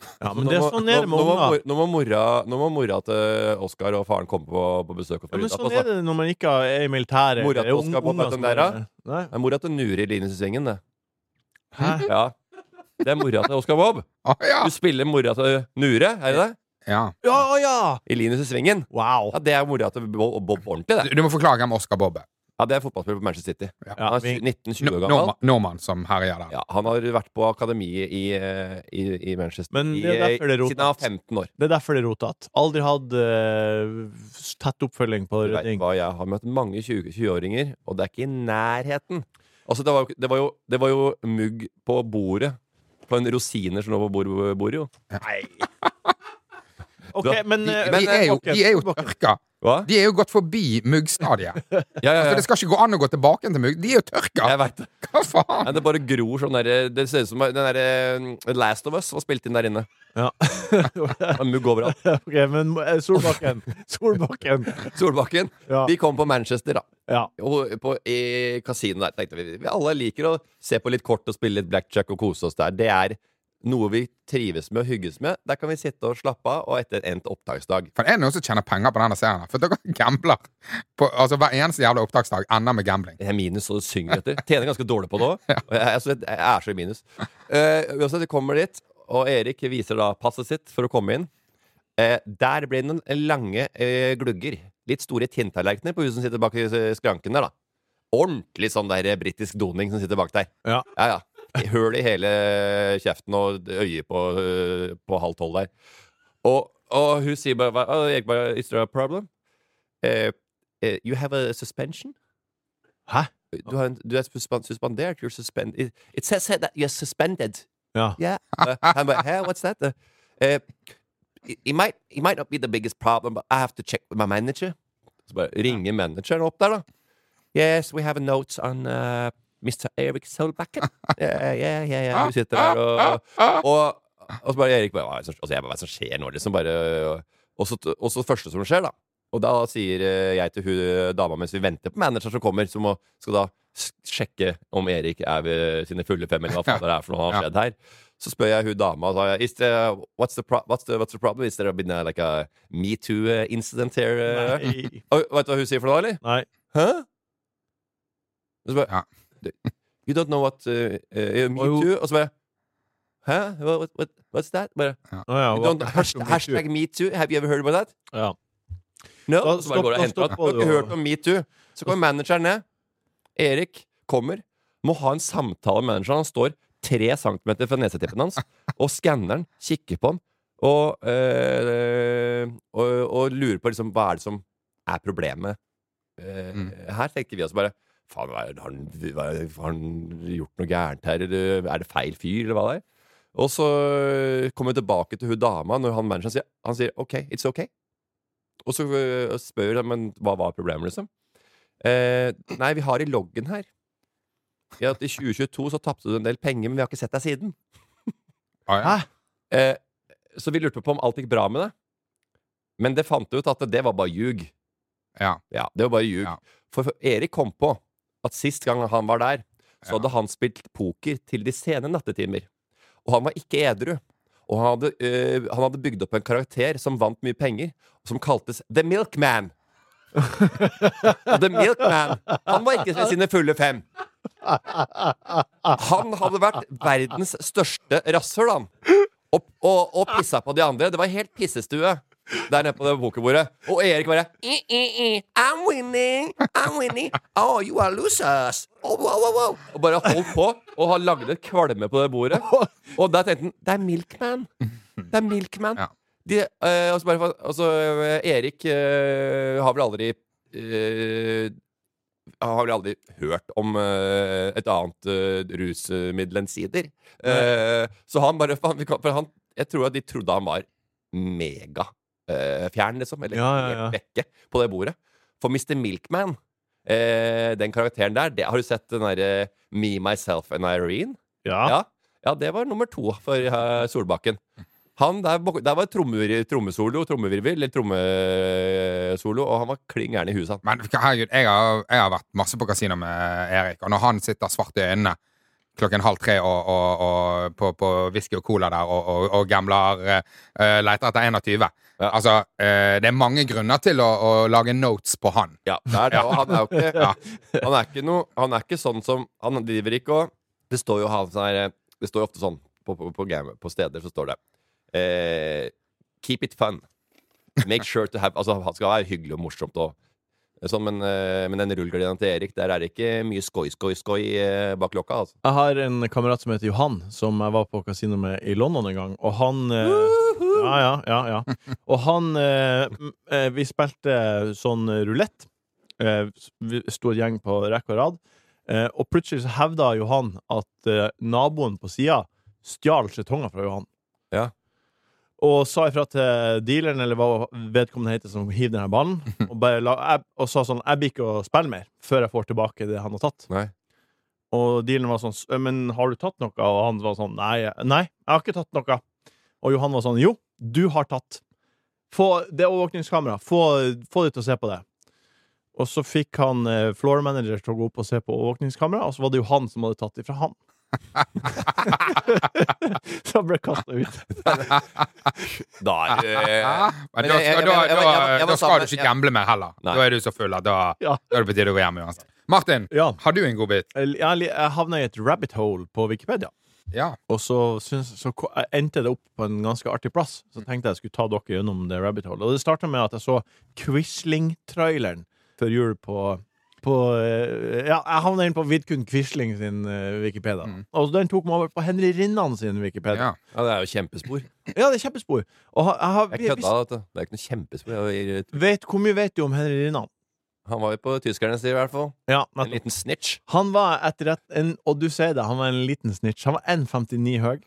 [SPEAKER 3] Ja, men
[SPEAKER 4] Nå
[SPEAKER 3] det er
[SPEAKER 4] må-
[SPEAKER 3] sånn
[SPEAKER 4] nå-
[SPEAKER 3] er det med
[SPEAKER 4] nå må
[SPEAKER 3] unger.
[SPEAKER 4] mor- Nå må mora- nå må mora til Oskar og faren komme på, på besøk. Og
[SPEAKER 3] Ja,
[SPEAKER 4] få
[SPEAKER 3] men
[SPEAKER 4] rydda
[SPEAKER 3] sånn
[SPEAKER 4] opp,
[SPEAKER 3] er
[SPEAKER 4] altså.
[SPEAKER 3] det når man ikke er i militæret.
[SPEAKER 4] Mora til
[SPEAKER 3] Det er
[SPEAKER 4] Oskar på
[SPEAKER 3] unger
[SPEAKER 4] den
[SPEAKER 3] som
[SPEAKER 4] der,
[SPEAKER 3] er-
[SPEAKER 4] da?
[SPEAKER 3] Nei.
[SPEAKER 4] Det er mora til Nuri i Linesesvingen, det.
[SPEAKER 3] Hæ?
[SPEAKER 4] Ja. Det er mora til Oskar Bob.
[SPEAKER 1] Å, ja.
[SPEAKER 4] Du spiller mora til Nure, er det det?
[SPEAKER 1] ja.
[SPEAKER 3] Ja, å ja!
[SPEAKER 4] I Linesesvingen.
[SPEAKER 3] Wow.
[SPEAKER 4] Ja, det er mora til Bob, Bob på ordentlig,
[SPEAKER 1] Du,
[SPEAKER 4] det.
[SPEAKER 1] du må forklare hvem Oscar Bobbe er.
[SPEAKER 4] Ja, det er fotballspiller på Manchester City.
[SPEAKER 3] Ja,
[SPEAKER 4] Han er
[SPEAKER 3] vi-
[SPEAKER 4] 19-20
[SPEAKER 1] Nor-
[SPEAKER 4] år gammel.
[SPEAKER 1] Norma- Nordmann som herjer der.
[SPEAKER 4] Ja, han har vært på akademiet i, eh, i, i Manchester
[SPEAKER 3] Men det er
[SPEAKER 4] i, eh,
[SPEAKER 3] derfor det er
[SPEAKER 4] siden han var 15 år.
[SPEAKER 3] Det er derfor det er rotete. Aldri hatt eh, tett oppfølging på
[SPEAKER 4] Du vet
[SPEAKER 3] redning.
[SPEAKER 4] hva, jeg har møtt mange 20 20-åringer, og det er ikke i nærheten. Altså, det var jo, ikke- det var jo, det var jo mugg på bordet. På en rosiner som lå på bordet, bordet jo.
[SPEAKER 3] Ok, men,
[SPEAKER 1] De,
[SPEAKER 3] eh,
[SPEAKER 1] de, er jo,
[SPEAKER 3] Bakken,
[SPEAKER 4] eh,
[SPEAKER 1] de er jo
[SPEAKER 3] Bakken.
[SPEAKER 1] tørka.
[SPEAKER 4] Hva?
[SPEAKER 1] De er jo gått forbi muggstadiet.
[SPEAKER 4] Ja, ja,
[SPEAKER 1] Altså, det
[SPEAKER 4] ja.
[SPEAKER 1] skal ikke gå an å gå tilbake til mugg. De er jo tørka!
[SPEAKER 4] Jeg vet det.
[SPEAKER 1] Hva faen?
[SPEAKER 4] Nei, det bare gror sånn der Det ser ut som den der eh, Last of Us var spilt inn der inne.
[SPEAKER 3] Ja.
[SPEAKER 4] Det var Mugg overalt.
[SPEAKER 3] ok, men eh, Solbakken. Solbakken.
[SPEAKER 4] Solbakken.
[SPEAKER 3] Ja.
[SPEAKER 4] Vi kom på Manchester, da.
[SPEAKER 3] Ja.
[SPEAKER 4] Og på, I kasino der. Tenkte vi, vi alle liker å se på litt kort og spille litt blackjack og kose oss der. Det er noe vi trives med og hygges med. Der kan vi sitte og slappe av, og etter endt opptaksdag
[SPEAKER 1] For Er det noen som tjener penger på denne serien? her? For dere gambler. På, altså, hver eneste jævla opptaksdag ender med gambling.
[SPEAKER 4] Jeg er minus og synger etter. Tjener ganske dårlig på det òg. Jeg, jeg, jeg er så i minus. Uh, uansett, vi kommer dit, og Erik viser da passet sitt for å komme inn. Eh, der ble det noen lange eh, glugger. Litt store tinntallerkener på huset som sitter bak i eh, skranken der. da Ordentlig sånn der eh, britisk doning som sitter bak der.
[SPEAKER 3] Ja.
[SPEAKER 4] Ja, ja. Høl i hele eh, kjeften og øyet på, eh, på halv tolv der. Og, og hun sier bare hva- «Å, Erik bare, Is there a problem? Eh, eh, you have a suspension?
[SPEAKER 3] Hæ?
[SPEAKER 4] Du, har en, du er suspen- suspendert. You're suspended. It, it says here that you're suspended.
[SPEAKER 3] Ja.
[SPEAKER 4] Yeah. Uh, I'm like, hey, what's that? Uh, eh, it, it might, it might not be the biggest problem, but I have to check with my manager. Så bare ringer manageren opp der, da. Yes, we have a note on uh, Mr. Erik Solbakken. Yeah, yeah, yeah, yeah. Du sitter der og, og Og så bare Erik bare, hva er det som- altså, jeg bare, Hva er det som skjer nå? Liksom bare og så, og så første som skjer, da. Og da sier eh, jeg til hun eh, dama mens vi venter på manageren som kommer, som må, skal da s- sjekke om Erik er ved sine fulle fem, eller hva faen det er for noe som har skjedd her. Så spør jeg hun dama og sier Is there, what's, the pro what's, the, what's the problem? Is there been a, like a metoo-incident here? eh?"
[SPEAKER 3] Nei.
[SPEAKER 4] Og vet du hva hun sier for noe, eller?
[SPEAKER 3] Nei.
[SPEAKER 4] Hæ? Og så bare
[SPEAKER 1] Ja.
[SPEAKER 4] You don't know what uh,
[SPEAKER 3] Og
[SPEAKER 4] uh,
[SPEAKER 3] hun-
[SPEAKER 4] metoo? Og så bare Hæ? What, what, what's that? Bare,
[SPEAKER 3] Å ja,
[SPEAKER 4] you
[SPEAKER 3] hva-
[SPEAKER 4] don't, hashtag, hashtag metoo. Have you ever heard about that?
[SPEAKER 3] ja.
[SPEAKER 4] No.
[SPEAKER 3] Da
[SPEAKER 4] så
[SPEAKER 3] stopp-
[SPEAKER 4] bare går det
[SPEAKER 3] da
[SPEAKER 4] og henter
[SPEAKER 3] stopper
[SPEAKER 4] opp. Du har
[SPEAKER 3] du,
[SPEAKER 4] ikke
[SPEAKER 3] og-
[SPEAKER 4] hørt om metoo. Så kommer manageren ned. Erik kommer. Må ha en samtale med manageren. Han står tre centimeter fra nesetippen hans, og skanneren kikker på ham og, øh, og, og lurer på liksom, hva er det som er problemet. Eh,
[SPEAKER 3] Mm.
[SPEAKER 4] Her tenkte vi oss bare Faen, hva er det- har han, hva er det- har han gjort noe gærent her? Eller er det feil fyr, eller hva det er? Og så kommer vi tilbake til hun dama når han manageren sier Han sier OK, it's OK. Og så øh, spør han men hva var problemet, liksom. Eh, nei, vi har i loggen her ja, at i 2022 så tapte du en del penger, men vi har ikke sett deg siden.
[SPEAKER 1] Å, ja.
[SPEAKER 4] Eh, så vi lurte på om alt gikk bra med det. Men det fant du ut at det var bare ljug.
[SPEAKER 1] Ja.
[SPEAKER 4] Ja, det var bare ljug.
[SPEAKER 1] Ja.
[SPEAKER 4] For, for Erik kom på at sist gang han var der, så
[SPEAKER 1] Ja.
[SPEAKER 4] hadde han spilt poker til de sene nattetimer. Og han var ikke edru. Og han hadde, øh, han hadde bygd opp en karakter som vant mye penger, som kaltes The Milkman. Og The Milkman Han var ikke ved sine fulle fem. Han hadde vært verdens største rasshøl, han. Og, og, og pissa på de andre. Det var helt pissestue der nede på det pokerbordet. Og Erik bare "I, i, i. I'm winning! I'm winning! Oh, you are losers! Oh, wow, wow, wow. Og bare holdt på og har lagd et kvalme på det bordet. Og der tenkte han Det er Milkman! Det er Milkman.
[SPEAKER 1] Ja.
[SPEAKER 4] De, eh, og så bare, og så, eh, Erik eh, har vel aldri eh, har vel aldri hørt om eh, et annet eh, rusmiddel enn sider. Eh, så han bare faen, vi kan- For han, jeg tror at de trodde han var megafjern, fjern liksom. Eller
[SPEAKER 3] Ja, ja, ja.
[SPEAKER 4] helt vekke på det bordet. For Mr. Milkman, eh, den karakteren der det, Har du sett den derre Me, Myself and Irene?
[SPEAKER 3] Ja.
[SPEAKER 4] Ja. ja, det var nummer to for eh, Solbakken. Han der, bak- der var trommer, trommesolo, trommevirvel, eller trommesolo, og han var kling gæren i huset, han.
[SPEAKER 1] Men herregud, jeg har, jeg har vært masse på kasino med Erik, og når han sitter svart i øynene klokken halv tre og, og, og, på, på whisky og cola der og, og, og gambler eh, leter etter 21
[SPEAKER 4] Ja.
[SPEAKER 1] Altså, eh, det er mange grunner til å, å lage notes på han.
[SPEAKER 4] Ja, det er det. Og han er jo ikke Han er ikke noe Han er ikke sånn som Han driver ikke og Det står jo han sånn her Det står jo ofte sånn på, på, på, game, på steder så står det eh, Keep it fun. Make sure to have Altså, han skal være hyggelig og morsomt og sånn, men, eh, men den rullegardinen til Erik, der er det ikke mye skoi, skoi, skoi eh, bak lokka, altså.
[SPEAKER 3] Jeg har en kamerat som heter Johan, som jeg var på kasino med i London en gang. Og han eh, Ja, ja, ja, ja. Og han eh, m- eh, Vi spilte sånn rulett. Eh, s- vi- stor gjeng på rekke og rad. Eh, og plutselig så hevda Johan at eh, naboen på sida stjal skjetonger fra Johan.
[SPEAKER 4] Ja.
[SPEAKER 3] og sa ifra til dealeren, eller hva vedkommende heter, som hiver den her ballen, og, bare la, jeg, og sa sånn 'Jeg blir ikke å spille mer før jeg får tilbake det han har tatt'.
[SPEAKER 4] Nei.
[SPEAKER 3] Og dealeren var sånn 'Men har du tatt noe?' Og han var sånn 'Nei, nei jeg har ikke tatt noe'. Og Johan var sånn 'Jo, du har tatt'. Få det overvåkningskameraet. Få, få de til å se på det. Og så fikk han eh, floor manager til å gå opp og se på overvåkningskameraet, og så var det jo han som hadde tatt ifra han. så han ble kasta ut.
[SPEAKER 4] Da er du eh,
[SPEAKER 1] Men da,
[SPEAKER 4] Men jeg- jeg-
[SPEAKER 1] da,
[SPEAKER 4] jeg- jeg-
[SPEAKER 1] da,
[SPEAKER 4] jeg- jeg var
[SPEAKER 1] da skal
[SPEAKER 4] sammen-
[SPEAKER 1] du ikke
[SPEAKER 4] jeg-
[SPEAKER 1] gamble mer heller.
[SPEAKER 4] Nei.
[SPEAKER 1] Da er du så full at da,
[SPEAKER 3] Ja.
[SPEAKER 1] da er det på tide å gå hjem uansett. Martin,
[SPEAKER 3] Ja.
[SPEAKER 1] har du en god bit?
[SPEAKER 3] Jeg, jeg, jeg havna i et rabbit hole på Wikipedia,
[SPEAKER 1] Ja.
[SPEAKER 3] og så, syns, så ko- jeg endte det opp på en ganske artig plass. Så
[SPEAKER 4] Mm.
[SPEAKER 3] tenkte jeg jeg skulle ta dere gjennom det rabbit hole. Og det starta med at jeg så Quisling-traileren før jul på på, eh, ja, jeg havna inn på Vidkun Quisling sin eh, Wikipedia. Og den tok meg over på Henry Rinnan sin Wikipedia.
[SPEAKER 1] ja.
[SPEAKER 4] Mm. Ja, det er jo kjempespor.
[SPEAKER 3] Ja, det er kjempespor. Og ha- jeg har,
[SPEAKER 4] Jeg kødda, vet du. Det er ikke noe kjempespor. Jeg, var i-
[SPEAKER 3] Vet, hvor mye vet du om Henry Rinnan?
[SPEAKER 4] han var jo på tyskernes side, i hvert fall.
[SPEAKER 3] Ja,
[SPEAKER 4] En
[SPEAKER 3] nettopp.
[SPEAKER 4] liten snitch.
[SPEAKER 3] Han var etter et, en, og du sier det, han var en liten snitch. Han var 1,59 høy.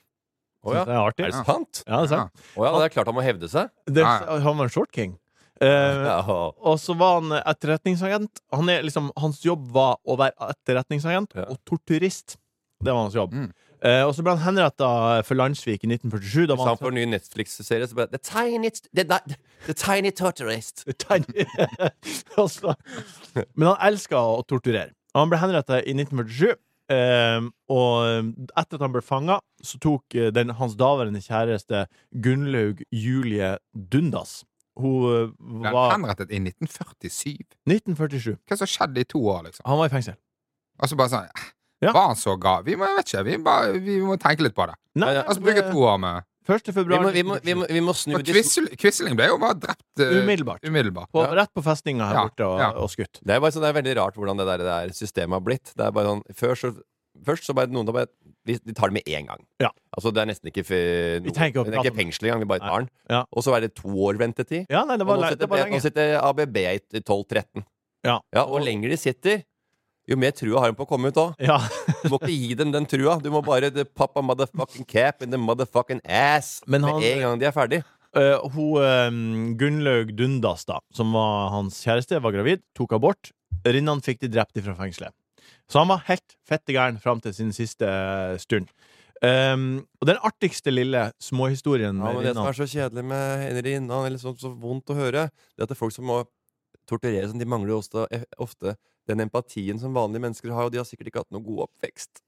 [SPEAKER 4] Å
[SPEAKER 3] Synes
[SPEAKER 4] ja.
[SPEAKER 3] Det er artig.
[SPEAKER 4] Er det sant?
[SPEAKER 3] Ja, det er sant.
[SPEAKER 4] Å ja, det er klart han må hevde seg.
[SPEAKER 3] Det,
[SPEAKER 1] Ja, ja.
[SPEAKER 3] han var en short king. Eh,
[SPEAKER 4] Ja.
[SPEAKER 3] og så var han etterretningsagent. Han er, liksom, hans jobb var å være etterretningsagent
[SPEAKER 4] Ja.
[SPEAKER 3] og torturist. Det var hans jobb.
[SPEAKER 1] Mm.
[SPEAKER 3] Eh, og så ble han henretta for landssvik i 1947. Da
[SPEAKER 4] Hvis
[SPEAKER 3] var han
[SPEAKER 4] han får en ny Netflix-serie, så bare The Tiny, the, the, the tiny Torturist.
[SPEAKER 3] Tegn- Og så- Men han elska å torturere. Han ble henretta i 1947. eh, og etter at han ble fanga, så tok eh, den, hans daværende kjæreste Gunnlaug Julie Dundas Hun eh,
[SPEAKER 1] Den
[SPEAKER 3] var
[SPEAKER 1] henrettet i 1947.
[SPEAKER 3] 1947.
[SPEAKER 1] Hva som skjedde i to år, liksom?
[SPEAKER 3] Han var i fengsel.
[SPEAKER 1] Og så bare sånn eh,
[SPEAKER 3] Ja.
[SPEAKER 1] Var han så gal? Vi må, jeg vet ikke, vi, bare, vi må tenke litt på det.
[SPEAKER 3] Nei,
[SPEAKER 4] Ja, ja.
[SPEAKER 1] Altså bruke to år med
[SPEAKER 3] 1.
[SPEAKER 4] Vi
[SPEAKER 3] februar
[SPEAKER 4] må, vi, må, vi, må, vi må snu
[SPEAKER 1] For
[SPEAKER 4] dis-
[SPEAKER 1] Quisling Quisling ble jo bare drept eh,
[SPEAKER 3] Umiddelbart.
[SPEAKER 1] umiddelbart.
[SPEAKER 3] på,
[SPEAKER 4] Ja.
[SPEAKER 3] Rett på festninga her
[SPEAKER 1] Ja,
[SPEAKER 3] borte og,
[SPEAKER 1] ja.
[SPEAKER 3] og skutt.
[SPEAKER 4] Det er bare sånn, det er veldig rart hvordan det der, det der systemet har blitt. Det er bare sånn, før så, først så bare noen tar bare, de, de tar det med en gang.
[SPEAKER 3] Ja.
[SPEAKER 4] Altså det er nesten ikke, fe-
[SPEAKER 3] Vi
[SPEAKER 4] noe-
[SPEAKER 3] trenger ikke å
[SPEAKER 4] det er
[SPEAKER 3] prate
[SPEAKER 4] ikke
[SPEAKER 3] om-
[SPEAKER 4] fengsel engang, vi bare tar den.
[SPEAKER 3] Ja.
[SPEAKER 4] Og så er det to år ventetid.
[SPEAKER 3] Ja, nei, det
[SPEAKER 4] Og
[SPEAKER 3] var,
[SPEAKER 4] nå
[SPEAKER 3] le- det var
[SPEAKER 4] sitter, eh, nå
[SPEAKER 3] lenge.
[SPEAKER 4] sitter ABB i 12-13.
[SPEAKER 3] Ja.
[SPEAKER 4] og lenger de sitter, jo mer trua har de på å komme ut òg.
[SPEAKER 3] Ja.
[SPEAKER 4] Du må ikke gi dem den trua. Du må bare the papa motherfucking cap in the motherfucking ass
[SPEAKER 3] Men han-
[SPEAKER 4] med en gang de er ferdig.
[SPEAKER 3] Eh, hun eh, Gunnlaug Dundas, da, som var hans kjæreste, var gravid, tok abort. Rinnan fikk de drept fra fengselet. Så han var helt fette gæren fram til sin siste eh, stund. Ehm, og den artigste lille småhistorien
[SPEAKER 4] Ja,
[SPEAKER 3] med
[SPEAKER 4] men Det
[SPEAKER 3] Rinnan
[SPEAKER 4] som er så kjedelig med Henry Innan, eller så, sånn- så vondt å høre, det er at det er folk som må tortureres, de mangler jo også eh, ofte den empatien som vanlige mennesker har, og de har sikkert ikke hatt noe god oppvekst.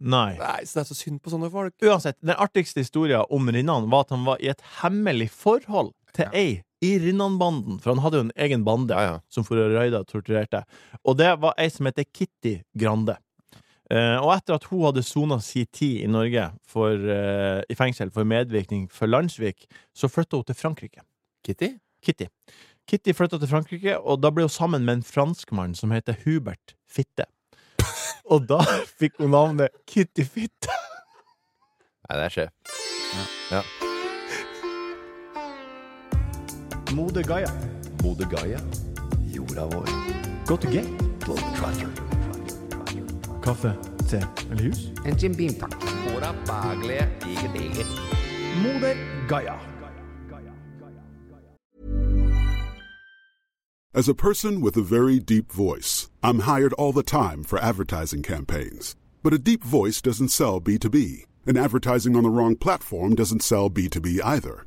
[SPEAKER 3] Nei.
[SPEAKER 4] Nei, så Det er så synd på sånne folk.
[SPEAKER 3] Uansett, den artigste historien om Rinnan var at han var i et hemmelig forhold til
[SPEAKER 1] Ja.
[SPEAKER 3] ei i Rinnan-banden. For han hadde jo en egen bande. som for å røyde og torturerte. Og det var ei som heter Kitty Grande. Eh, og etter at hun hadde sona si tid i Norge for, eh, i fengsel for medvirkning for Landsvik, så flytta hun til Frankrike.
[SPEAKER 4] Kitty?
[SPEAKER 3] Kitty. Kitty flytta til Frankrike, og da ble hun sammen med en franskmann som heter Hubert Fitte. Og da fikk hun navnet Kitty Fitte.
[SPEAKER 4] Nei, det er sjef.
[SPEAKER 3] Mode Gaia.
[SPEAKER 4] Bodø Gaia. Jorda vår.
[SPEAKER 3] Go to gate. Kaffe, te eller hus?
[SPEAKER 1] En Jim Beam, takk.
[SPEAKER 4] Jorda baglige diger-diger.
[SPEAKER 3] Moder Gaia.
[SPEAKER 5] As a person with a very deep voice, I'm hired all the time for advertising campaigns. But a deep voice doesn't sell B2B, and advertising on the wrong platform doesn't sell B2B either.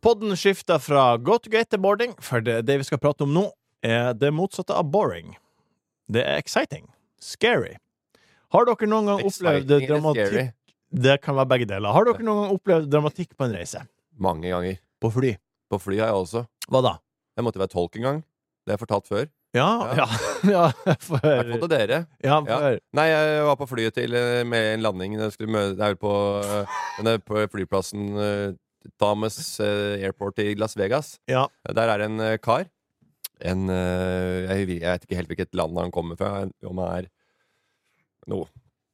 [SPEAKER 3] Podden skifter fra go to gate til boarding, for det, det vi skal prate om nå, er det motsatte av boring. Det er exciting. Scary. Har dere noen gang opplevd
[SPEAKER 4] Exciting and
[SPEAKER 3] dramatikk
[SPEAKER 4] scary.
[SPEAKER 3] Det kan være begge deler. Har dere noen gang opplevd dramatikk på en reise?
[SPEAKER 4] Mange ganger.
[SPEAKER 3] På fly.
[SPEAKER 4] På fly har jeg også.
[SPEAKER 3] Hva da?
[SPEAKER 4] Jeg måtte være tolk en gang. Det har jeg fortalt før.
[SPEAKER 3] Ja, ja, ja, for,
[SPEAKER 4] Jeg har fått det dere.
[SPEAKER 3] ja,
[SPEAKER 4] Ja.
[SPEAKER 3] for,
[SPEAKER 4] Nei, jeg var på flyet til eh, med en landing jeg skulle møte, det er jo på, eh, denne på flyplassen eh, Thomas eh, Airport i Las Vegas.
[SPEAKER 3] ja.
[SPEAKER 4] Der er en eh, kar. En eh, jeg, vi- jeg vet ikke helt hvilket land han kommer fra. Om han er noe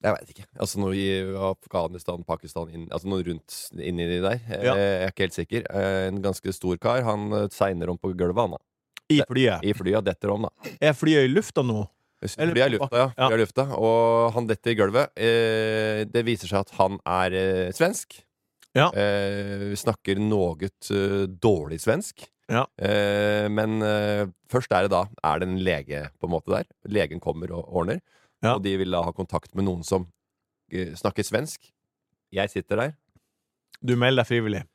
[SPEAKER 4] Jeg veit ikke. Altså noe i Afghanistan, Pakistan inn, Altså noe rundt inni de der. Eh,
[SPEAKER 3] Ja.
[SPEAKER 4] Jeg er ikke helt sikker. Eh, En ganske stor kar. Han eh, segner om på gulvet, han da.
[SPEAKER 3] I flyet.
[SPEAKER 4] I flyet og detter om, da.
[SPEAKER 3] Er flyet i lufta nå? Eller
[SPEAKER 4] Flyet er i
[SPEAKER 3] på
[SPEAKER 4] lufta, ja.
[SPEAKER 3] Ja.
[SPEAKER 4] Flyet er i lufta. Og han detter i gulvet. Eh, det viser seg at han er eh, svensk.
[SPEAKER 3] Ja.
[SPEAKER 4] Eh, snakker noe eh, dårlig svensk.
[SPEAKER 3] Ja.
[SPEAKER 4] Eh, men eh, først er det da Er det en lege på en måte der. Legen kommer og ordner.
[SPEAKER 3] Ja.
[SPEAKER 4] Og de vil da ha kontakt med noen som eh, snakker svensk. Jeg sitter der.
[SPEAKER 3] Du melder deg frivillig.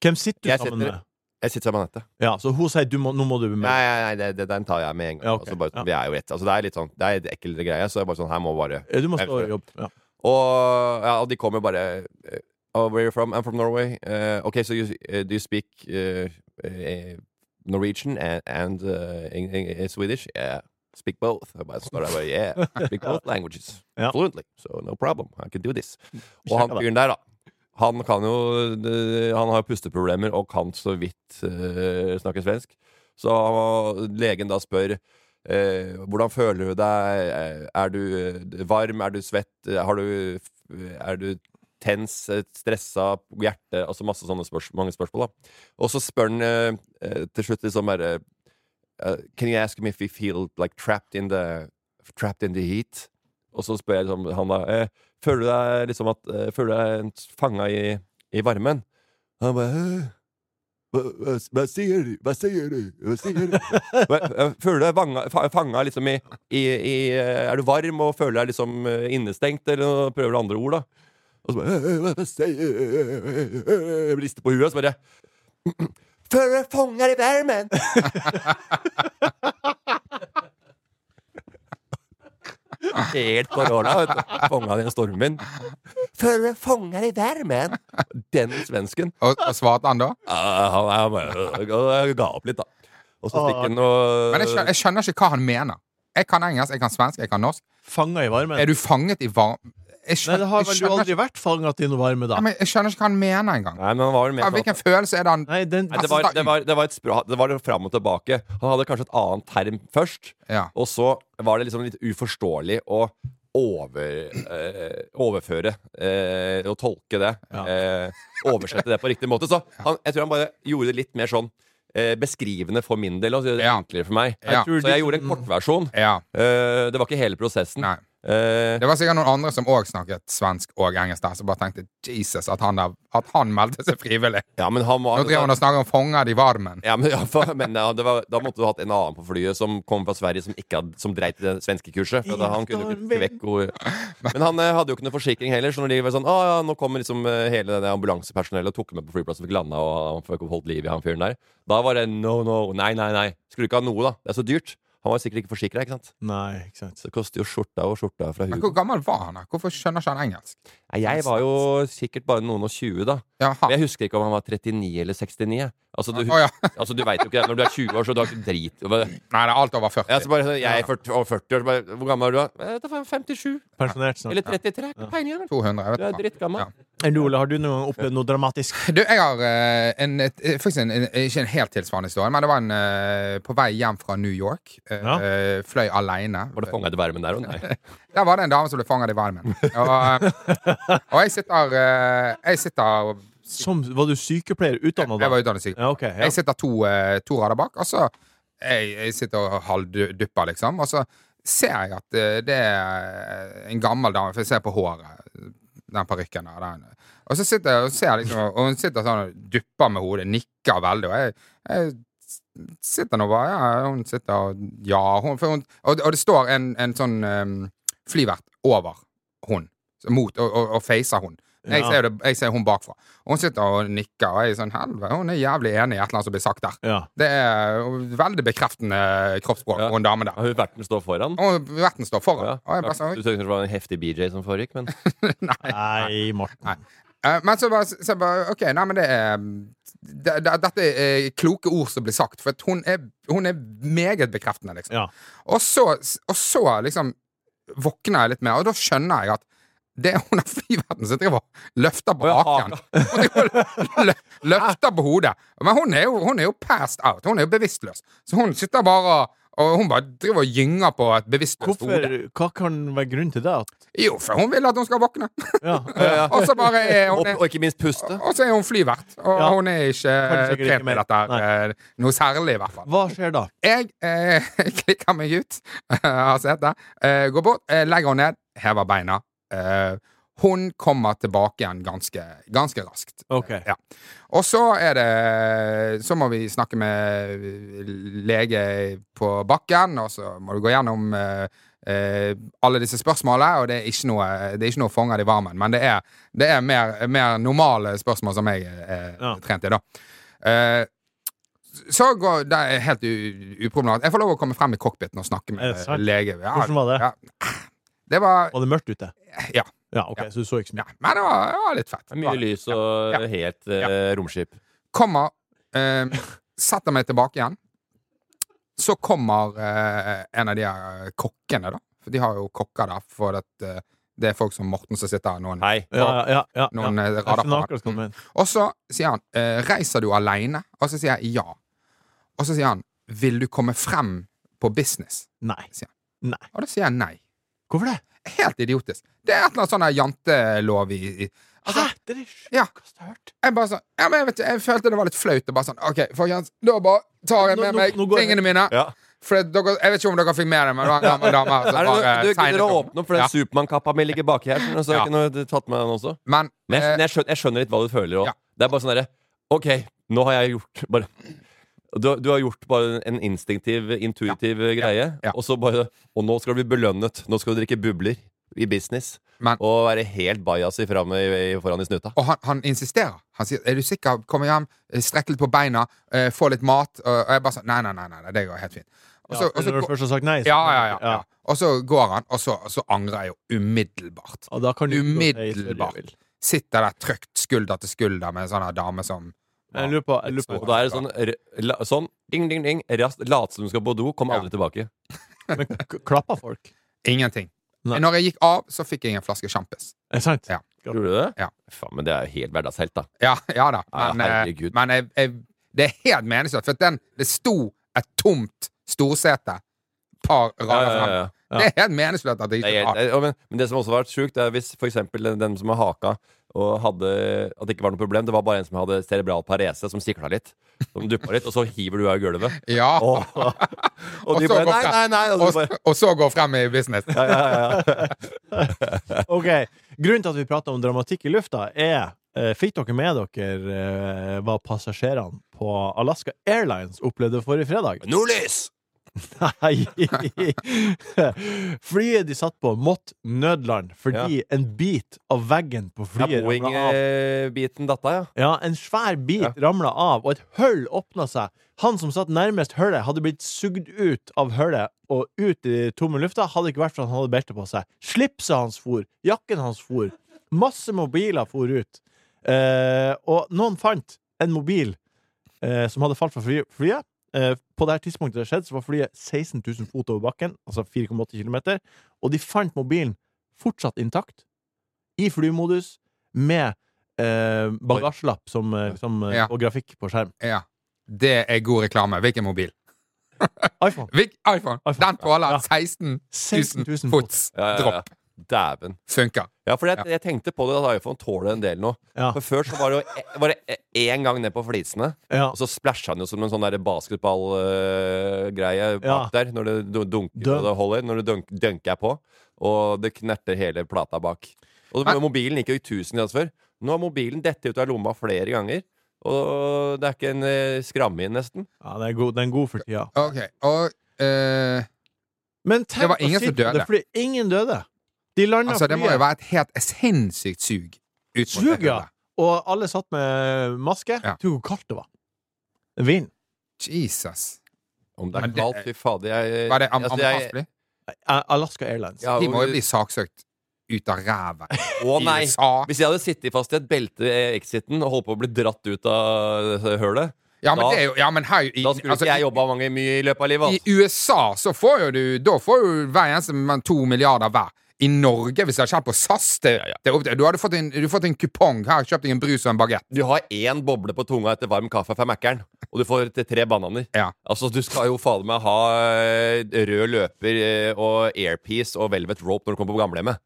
[SPEAKER 3] Hvem sitter du
[SPEAKER 4] Jeg
[SPEAKER 3] sammen
[SPEAKER 4] sitter-
[SPEAKER 3] med?
[SPEAKER 4] Jeg sitter sammen med Anette.
[SPEAKER 3] Ja, så hun sier du må, nå må du
[SPEAKER 4] Nei,
[SPEAKER 3] melde
[SPEAKER 4] nei, nei det, det, den tar jeg med en gang.
[SPEAKER 3] Ja, ok.
[SPEAKER 4] altså bare,
[SPEAKER 3] Ja.
[SPEAKER 4] Vi er jo rett, altså, det er litt sånn Det er en eklere greie, så jeg bare sånn Her må bare
[SPEAKER 3] Ja, Du må stå i jobb. Ja.
[SPEAKER 4] Og, ja, og de kommer bare eh, oh, Where are you from? I'm from Norway. Eh, ok, so you, eh, do you speak eh, eh, Norwegian and, and eh, eng- eng- eh, Swedish? Yeah. Speak both. Jeg bare står der bare, yeah. Speak both languages
[SPEAKER 3] Ja.
[SPEAKER 4] fluently. So no problem. I can do this.
[SPEAKER 3] Sjekka
[SPEAKER 4] Og han
[SPEAKER 3] det.
[SPEAKER 4] fyren der, da. Han kan jo det- Han har jo pusteproblemer og kan så vidt eh, snakke svensk. Så legen da spør Eh, hvordan føler du deg? Eh, Er du eh, varm? Er du svett? Eh, Har du, er du tens, eh, stressa, hjerte? Altså masse sånne spørs mange spørsmål. da Og så spør han eh, eh, til slutt liksom bare eh, Can you ask me if you feel like trapped in the Trapped in the heat? Og så spør jeg liksom han da eh, Føler du deg liksom at eh, Føler du deg fanga i, i varmen? Han bare «Hæ? hva, hva, hva sier du? Hva sier du? Hva sier du? Hva- eh, Føler du deg vanga- fa- fanga liksom i, i, i eh, Er du varm og føler deg liksom eh, innestengt, eller noe- prøver du andre ord, da? Og så bare «Øh, hva- hva sier du? Øh, øh», Rister på huet, og så bare Føler du deg fanga i varmen? Helt korona, vet du. Fanga i en stormvind. Føler du deg fanga i varmen? Den svensken.
[SPEAKER 1] Og, og svarte han da?
[SPEAKER 4] Ja, han er bare- og jeg ga opp litt, da. Og så stikker han og
[SPEAKER 1] Men jeg skjønner, jeg skjønner ikke hva han mener. Jeg kan engelsk, jeg kan svensk, jeg kan norsk.
[SPEAKER 3] Fanga i varmen?
[SPEAKER 1] Er du fanget i varm... Jeg
[SPEAKER 3] Nei,
[SPEAKER 1] skjønner,
[SPEAKER 3] det har
[SPEAKER 1] jeg
[SPEAKER 3] vel du
[SPEAKER 1] skjønner
[SPEAKER 3] aldri vært fanga til noe varme, da?
[SPEAKER 1] ikke- Men jeg skjønner ikke hva han mener engang.
[SPEAKER 4] Nei, men han var vel mer
[SPEAKER 1] Ja,
[SPEAKER 4] sånn
[SPEAKER 1] hvilken altså,
[SPEAKER 4] at-
[SPEAKER 1] følelse er det han
[SPEAKER 3] Nei, den
[SPEAKER 4] Nei, det var, det var, det var et språk Det var fram og tilbake. Han hadde kanskje et annet term først,
[SPEAKER 1] Ja.
[SPEAKER 4] og så var det liksom litt uforståelig å over, eh, overføre eh, og tolke det.
[SPEAKER 3] Ja.
[SPEAKER 4] Eh, oversette det på riktig måte. Så han, jeg tror han bare gjorde det litt mer sånn eh, beskrivende for min del, og så gjorde det
[SPEAKER 1] Ja.
[SPEAKER 4] enklere for meg.
[SPEAKER 1] Ja.
[SPEAKER 4] Så jeg gjorde en kortversjon.
[SPEAKER 1] Ja.
[SPEAKER 4] Eh, det var ikke hele prosessen.
[SPEAKER 1] Nei.
[SPEAKER 4] Eh,
[SPEAKER 1] Det var sikkert noen andre som òg snakket svensk og engelsk der, som bare tenkte Jesus, at han, der, at han meldte seg frivillig.
[SPEAKER 4] ja, men han var
[SPEAKER 1] Nå driver han og snakker om fanger i varmen.
[SPEAKER 4] Ja, men, ja, for, men ja, det var, da måtte du hatt en annen på flyet som kom fra Sverige, som, ikke hadde, som dreit i det svenske kurset. For da, han kunne jo ikke vekk ord. Men han eh, hadde jo ikke noe forsikring heller, så når de var sånn Å ja, nå kommer liksom eh, hele det ambulansepersonellet og tok ham med på flyplassen, fikk landa og han fikk holdt liv i han fyren der. Da var det no, no, nei, nei, nei. Skulle ikke ha noe, da. Det er så dyrt. Han var sikkert ikke forsikra, ikke sant.
[SPEAKER 3] Nei, ikke sant.
[SPEAKER 4] Så det koster jo skjorta og skjorta fra
[SPEAKER 1] Men
[SPEAKER 4] Hugo.
[SPEAKER 1] hvor gammel var han? da? Hvorfor skjønner ikke han engelsk?
[SPEAKER 4] Nei, jeg var jo sikkert bare noen og 20, da.
[SPEAKER 1] Jaha.
[SPEAKER 4] Men jeg husker ikke om han var 39 eller 69. Altså, du,
[SPEAKER 1] Å, ja.
[SPEAKER 4] altså, du veit jo ikke det. Når du er 20 år, så du har ikke drit.
[SPEAKER 1] Nei, det er alt over
[SPEAKER 4] Ja,
[SPEAKER 1] 40.
[SPEAKER 4] så bare, sånn, jeg er 40, over 40 år, så bare, hvor gammel er du da? Eh, det var 57,
[SPEAKER 3] Pensjonert snart.
[SPEAKER 4] eller 33, ikke peiling engang.
[SPEAKER 1] 200, jeg
[SPEAKER 4] Du er
[SPEAKER 1] vet ikke.
[SPEAKER 4] drittgammel.
[SPEAKER 1] Ja.
[SPEAKER 3] Enn du, Ole, har du noen gang opplevd noe dramatisk?
[SPEAKER 1] Du, jeg har eh, en, et, eh, faktisk en, en, ikke en helt tilsvarende historie, men det var en eh, på vei hjem fra New York. eh,
[SPEAKER 3] Ja.
[SPEAKER 1] eh, fløy aleine.
[SPEAKER 4] Var det fanga i varmen der òg? Nei.
[SPEAKER 1] Der var det en dame som ble fanget i varmen. Og, og jeg sitter eh, Jeg sitter
[SPEAKER 3] Som, var du sykepleier utdanna
[SPEAKER 1] Jeg
[SPEAKER 3] da?
[SPEAKER 1] var utdannet sykepleier.
[SPEAKER 3] Ja, ok. Ja.
[SPEAKER 1] Jeg sitter to, eh, to rader bak, og så jeg, jeg sitter og halvdupper, liksom. Og så ser jeg at eh, det er en gammel dame, for jeg ser på håret, den parykken der. Den. Og så sitter jeg og ser, liksom, og hun sitter sånn og dupper med hodet, nikker veldig, og jeg, jeg sitter nå bare Ja, hun sitter og Ja, hun, for hun Og, og det står ehm, en, en sånn um, flyvert over hun, så mot, og, og, og facer hun. Jeg
[SPEAKER 3] Ja.
[SPEAKER 1] ser, jo det, jeg ser hun bakfra. Og hun sitter og nikker, og jeg er sånn Helvete, hun er jævlig enig i et eller annet som blir sagt der.
[SPEAKER 3] Ja.
[SPEAKER 1] Det er veldig bekreftende kroppsspråk
[SPEAKER 4] Ja.
[SPEAKER 1] og en dame der.
[SPEAKER 4] Har hun verten står foran?
[SPEAKER 1] Og verten står foran.
[SPEAKER 4] Ja.
[SPEAKER 1] Og jeg bare
[SPEAKER 4] Du
[SPEAKER 1] sånn,
[SPEAKER 4] tenkte det var en heftig BJ som foregikk, men
[SPEAKER 1] nei.
[SPEAKER 3] Nei, Morten.
[SPEAKER 1] Eh, Men så bare, så jeg bare OK, nei, men det er det, det, Dette er kloke ord som blir sagt, for at hun er, hun er meget bekreftende, liksom.
[SPEAKER 3] Ja.
[SPEAKER 1] Og så, og så liksom våkner jeg litt mer, og da skjønner jeg at det er hun av flyverten som driver og løfter på
[SPEAKER 4] Å, ja,
[SPEAKER 1] haken. Hun driver og lø- løfter på hodet. Men hun er, jo, hun er jo passed out. Hun er jo bevisstløs. Så hun sitter bare og- og hun bare driver og gynger på et bevisstløst
[SPEAKER 3] Hvorfor,
[SPEAKER 1] hode.
[SPEAKER 3] hva kan være grunnen til det? At,
[SPEAKER 1] Jo, for hun vil at hun skal våkne.
[SPEAKER 3] ja,
[SPEAKER 4] ja.
[SPEAKER 1] Og så bare er hun
[SPEAKER 4] Opp, og ikke minst puste.
[SPEAKER 1] og så er hun flyvert, og
[SPEAKER 3] Ja.
[SPEAKER 1] hun er ikke
[SPEAKER 3] Kan sikkert
[SPEAKER 1] trent
[SPEAKER 3] ikke
[SPEAKER 1] med
[SPEAKER 3] mer.
[SPEAKER 1] dette her, eh, noe særlig, i hvert fall.
[SPEAKER 3] Hva skjer da?
[SPEAKER 1] Jeg eh, klikker meg ut av setet, eh, går bort, eh, legger henne ned, hever beina. Eh, hun kommer tilbake igjen ganske, ganske raskt.
[SPEAKER 3] Ok.
[SPEAKER 1] Ja. Og så er det Så må vi snakke med lege på bakken, og så må du gå gjennom eh, eh, alle disse spørsmålene, og det er ikke noe, det er ikke noe fanger i varmen. Men det er, det er mer, mer normale spørsmål som jeg er
[SPEAKER 3] Ja.
[SPEAKER 1] trent i, da. Eh, så går det er helt u- uproblematisk. Jeg får lov å komme frem i cockpiten og
[SPEAKER 3] Er
[SPEAKER 1] snakke med
[SPEAKER 3] det sant?
[SPEAKER 1] lege. Ja,
[SPEAKER 3] Hvordan var det?
[SPEAKER 1] Ja. Det var
[SPEAKER 3] Var det mørkt ute?
[SPEAKER 1] Ja.
[SPEAKER 3] Ja, ok, Så du så ikke så
[SPEAKER 1] ja.
[SPEAKER 3] mye?
[SPEAKER 1] Men det var, det var litt fett.
[SPEAKER 4] Det er Mye lys og helt eh, romskip.
[SPEAKER 1] kommer eh, Setter meg tilbake igjen. Så kommer eh, en av de her kokkene, da. For de har jo kokker der. For at, eh, det er folk som Morten som sitter her noen,
[SPEAKER 4] Hei.
[SPEAKER 3] Ja, ja, ja, ja, ja.
[SPEAKER 1] noen eh,
[SPEAKER 3] Jeg skjønner
[SPEAKER 1] rader fra.
[SPEAKER 3] akkurat hva du
[SPEAKER 1] Mm.
[SPEAKER 3] mener.
[SPEAKER 1] Og så sier han eh, 'Reiser du aleine?' Og så sier jeg ja. Og så sier han 'Vil du komme frem på business?'
[SPEAKER 3] Nei.
[SPEAKER 1] Sier
[SPEAKER 3] Nei.
[SPEAKER 1] Og da sier jeg nei.
[SPEAKER 3] Hvorfor det?
[SPEAKER 1] Helt idiotisk. Det er et eller annet sånn her jantelov i, i altså,
[SPEAKER 3] Hæ? Det er det
[SPEAKER 1] Ja.
[SPEAKER 3] sjukeste jeg har hørt.
[SPEAKER 1] Jeg bare sånn, ja, men jeg, vet, ikke, jeg følte det var litt flaut. Og bare sånn, ok, folkens, da bare tar jeg
[SPEAKER 3] Nå-
[SPEAKER 1] med
[SPEAKER 3] nå-
[SPEAKER 1] meg
[SPEAKER 3] nå går jeg-
[SPEAKER 1] tingene mine.
[SPEAKER 4] Ja.
[SPEAKER 1] For dere, jeg vet ikke om dere fikk med det, men det var en gammel dame som
[SPEAKER 4] Er det,
[SPEAKER 1] bare
[SPEAKER 4] du, du
[SPEAKER 1] tegnet
[SPEAKER 4] gidder å
[SPEAKER 1] opp.
[SPEAKER 4] åpne opp for den
[SPEAKER 1] Ja.
[SPEAKER 4] Supermann-kappa mi ligger baki her? skjønner du, Så
[SPEAKER 1] Ja.
[SPEAKER 4] jeg kunne du tatt med den også
[SPEAKER 1] Men,
[SPEAKER 4] Men jeg,
[SPEAKER 1] eh,
[SPEAKER 4] men jeg, skjønner, jeg skjønner litt hva du føler òg.
[SPEAKER 1] Ja.
[SPEAKER 4] Det er bare sånn derre OK, nå har jeg gjort bare du, du har gjort bare en instinktiv, intuitiv greie,
[SPEAKER 1] Ja.
[SPEAKER 4] og så bare Og nå skal du bli belønnet. Nå skal du drikke bubler i business
[SPEAKER 1] Men-
[SPEAKER 4] og være helt bajazi framme i- i- foran i snuta.
[SPEAKER 1] og han, han insisterer. Han sier 'er du sikker', kom hjem, strekk litt på beina, eh, få litt mat. Og, og jeg bare sånn nei, nei, nei, nei, nei, det går helt fint. Og så,
[SPEAKER 3] Ja,
[SPEAKER 1] og så,
[SPEAKER 3] når du
[SPEAKER 1] går-
[SPEAKER 3] først har sagt nei, så-
[SPEAKER 1] ja, ja, ja, ja. Og så går han, og så, og så angrer jeg jo umiddelbart.
[SPEAKER 3] Ja, da kan du ikke gå til-
[SPEAKER 1] Umiddelbart. Sitter der trygt skulder til skulder med en sånn her dame som
[SPEAKER 3] Jeg lurer på, jeg lurer på.
[SPEAKER 4] Og da er det sånn, r- la, sånn ding, ding, ding, raskt, late som du skal på do, kom aldri tilbake.
[SPEAKER 3] Men k- klapper folk?
[SPEAKER 1] Ingenting.
[SPEAKER 3] Nei.
[SPEAKER 1] Når jeg gikk av, så fikk jeg en flaske sjampis.
[SPEAKER 3] Er det sant?
[SPEAKER 1] Ja.
[SPEAKER 4] Gjorde du det?
[SPEAKER 1] Ja.
[SPEAKER 4] Faen, men det er jo helt hverdagshelt, da.
[SPEAKER 1] Ja, ja da.
[SPEAKER 4] Ja,
[SPEAKER 1] Men, eh,
[SPEAKER 4] Ah, herregud.
[SPEAKER 1] men jeg, jeg, det er helt meningsløst. For at den, det sto et tomt storsete par
[SPEAKER 4] Ja,
[SPEAKER 1] rader
[SPEAKER 4] ja, ja,
[SPEAKER 1] frem.
[SPEAKER 4] ja.
[SPEAKER 1] Det er helt meningsløst at det
[SPEAKER 4] Det
[SPEAKER 1] ikke
[SPEAKER 4] er helt,
[SPEAKER 1] var
[SPEAKER 4] det, ja, men, men det som også var sjukt, er hvis for eksempel den- den som har haka og hadde, at det ikke var noe problem, det var bare en som hadde cerebral parese, som sikla litt, som duppa litt, og så hiver du av gulvet.
[SPEAKER 1] Ja.
[SPEAKER 4] Og, og de
[SPEAKER 1] Og så
[SPEAKER 4] bare
[SPEAKER 1] går
[SPEAKER 4] Nei,
[SPEAKER 1] fra-
[SPEAKER 4] nei, nei! Og
[SPEAKER 1] Og,
[SPEAKER 4] du bare,
[SPEAKER 1] og så går frem i business.
[SPEAKER 4] ja, ja, ja, ja.
[SPEAKER 3] Ok, Grunnen til at vi prater om dramatikk i lufta, er eh, Fikk dere med dere eh, hva passasjerene på Alaska Airlines opplevde forrige fredag?
[SPEAKER 4] Nordlys!
[SPEAKER 3] Nei! Flyet de satt på, måtte nødland fordi en bit av veggen på
[SPEAKER 4] Ja,
[SPEAKER 3] flyet ramla av.
[SPEAKER 4] Boeing-biten datta, ja.
[SPEAKER 3] Ja, en svær bit
[SPEAKER 4] Ja.
[SPEAKER 3] ramla av, og et hull åpna seg. Han som satt nærmest hullet, hadde blitt sugd ut av hullet og ut i tomme lufta, hadde ikke vært for at han hadde belte på seg. Slipset hans for, jakken hans for. Masse mobiler for ut. Eh, og noen fant en mobil eh, som hadde falt fra fly- flyet. Eh, på det her tidspunktet det skjedde, så var flyet 16 000 fot over bakken, altså 4,8 km, og de fant mobilen fortsatt intakt, i flymodus, med eh, bagasjelapp som, eh, som, eh,
[SPEAKER 1] Ja.
[SPEAKER 3] og grafikk på skjerm.
[SPEAKER 1] Ja. Det er god reklame. Hvilken mobil?
[SPEAKER 3] iPhone.
[SPEAKER 1] Hvil- iPhone.
[SPEAKER 3] iPhone.
[SPEAKER 1] Den tåler
[SPEAKER 3] Ja.
[SPEAKER 1] 16
[SPEAKER 3] 16 000 fot.
[SPEAKER 1] 000 fots
[SPEAKER 4] ja, ja, ja.
[SPEAKER 1] dropp.
[SPEAKER 4] Dæven.
[SPEAKER 1] Funker.
[SPEAKER 4] Ja, for jeg, jeg tenkte på det, at iPhone tåler en del nå.
[SPEAKER 3] Ja.
[SPEAKER 4] For før så var det jo e, var det én gang ned på flisene.
[SPEAKER 3] Ja.
[SPEAKER 4] Og så splæsja han jo som en sånn
[SPEAKER 3] Ja.
[SPEAKER 4] basketballgreie bak der. Når det du- dunker
[SPEAKER 3] Dunk.
[SPEAKER 4] og det holder. Når det dunk, dunker jeg på, og det knerter hele plata bak. Og
[SPEAKER 1] Men-
[SPEAKER 4] mobilen gikk jo i tusen grad før. Nå har mobilen dettet ut av lomma flere ganger. Og det er ikke en eh, skramme i den, nesten.
[SPEAKER 3] Ja, den er god, den er god for tida.
[SPEAKER 1] Ok, og eh,
[SPEAKER 3] Men tenk
[SPEAKER 1] Det var
[SPEAKER 3] å
[SPEAKER 1] ingen
[SPEAKER 3] si
[SPEAKER 1] som
[SPEAKER 3] på det,
[SPEAKER 1] døde.
[SPEAKER 3] fordi ingen døde. De landa
[SPEAKER 1] Altså, det må jo
[SPEAKER 3] flyet.
[SPEAKER 1] være et helt sinnssykt sug Utslått.
[SPEAKER 3] Sug, ja. Og alle satt med maske.
[SPEAKER 1] Ja.
[SPEAKER 3] Tror du hvor kaldt det var? Vind.
[SPEAKER 1] Jesus.
[SPEAKER 4] Om det er
[SPEAKER 1] Men det-
[SPEAKER 4] kaldt, fy fader. Jeg,
[SPEAKER 1] Var det am
[SPEAKER 4] altså, jeg-
[SPEAKER 1] amerikansk fly?
[SPEAKER 3] A- Alaska Airlines.
[SPEAKER 4] Ja,
[SPEAKER 1] De må jo bli saksøkt ut av ræva.
[SPEAKER 4] Å
[SPEAKER 1] I
[SPEAKER 4] nei!
[SPEAKER 1] USA.
[SPEAKER 4] Hvis jeg hadde sittet fast i et belte i exiten og holdt på å bli dratt ut av eh, hølet,
[SPEAKER 1] Ja, men,
[SPEAKER 4] Da-
[SPEAKER 1] det er jo, ja, men her i,
[SPEAKER 4] da skulle
[SPEAKER 1] altså,
[SPEAKER 4] ikke jeg jobba mange mye i løpet av livet.
[SPEAKER 1] I
[SPEAKER 4] Altså.
[SPEAKER 1] USA så får jo du Da får jo hver eneste mann to milliarder hver. I Norge, hvis det har skjedd på SAS det, det, er opp til- Du hadde fått en, du hadde fått en kupong. Her kjøpt deg en brus og en bagett.
[SPEAKER 4] Du har én boble på tunga etter varm kaffe fra Mækkern, og du får til tre bananer.
[SPEAKER 1] Ja.
[SPEAKER 4] Altså, du skal jo fader meg ha eh, rød løper eh, og airpiece og velvet rope når du kommer på gamlehjemmet.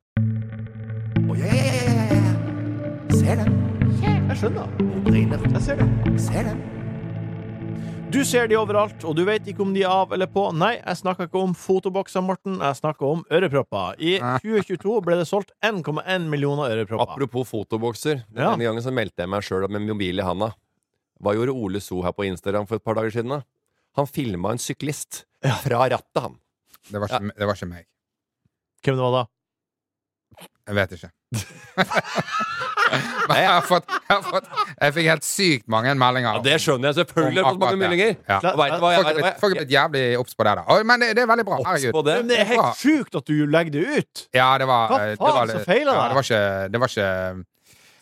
[SPEAKER 2] Å, ja, ja, ja, ja, ja, ja. Ser dem.
[SPEAKER 3] Jeg skjønner.
[SPEAKER 2] Hun brenner.
[SPEAKER 3] Jeg ser det.
[SPEAKER 2] Ser dem.
[SPEAKER 3] Du ser de overalt, og du vet ikke om de er av eller på. Nei, jeg snakker ikke om fotobokser, Morten. Jeg snakker om ørepropper. I 2022 ble det solgt 1,1 millioner ørepropper.
[SPEAKER 4] Apropos fotobokser.
[SPEAKER 3] Ja.
[SPEAKER 4] Denne gangen så meldte jeg meg sjøl med mobil i handa. Hva gjorde Ole So her på Instagram for et par dager siden? da? Han filma en syklist fra rattet, han.
[SPEAKER 1] Det var, ikke, det var ikke meg.
[SPEAKER 3] Hvem det var da?
[SPEAKER 1] Jeg vet ikke. men jeg har fått Jeg, har fått, jeg fikk helt sykt mange meldinger.
[SPEAKER 4] Ja, det skjønner jeg selvfølgelig. Jeg har fått mange meldinger.
[SPEAKER 1] Ja.
[SPEAKER 4] Og vet du hva jeg-
[SPEAKER 1] Folk er blitt,
[SPEAKER 4] vet du hva
[SPEAKER 1] folk
[SPEAKER 4] jeg-
[SPEAKER 1] er blitt jævlig obs på det. da Å, Men det, det er veldig bra.
[SPEAKER 4] Obs
[SPEAKER 1] Herregud.
[SPEAKER 4] på det.
[SPEAKER 3] Men det er
[SPEAKER 1] bra.
[SPEAKER 3] helt sjukt at du legger det ut!
[SPEAKER 1] Ja, det var
[SPEAKER 3] Hva
[SPEAKER 1] eh, det
[SPEAKER 3] faen
[SPEAKER 1] var
[SPEAKER 3] så
[SPEAKER 1] litt-
[SPEAKER 3] feiler
[SPEAKER 1] ja,
[SPEAKER 3] det?
[SPEAKER 1] det? var ikke, det var ikke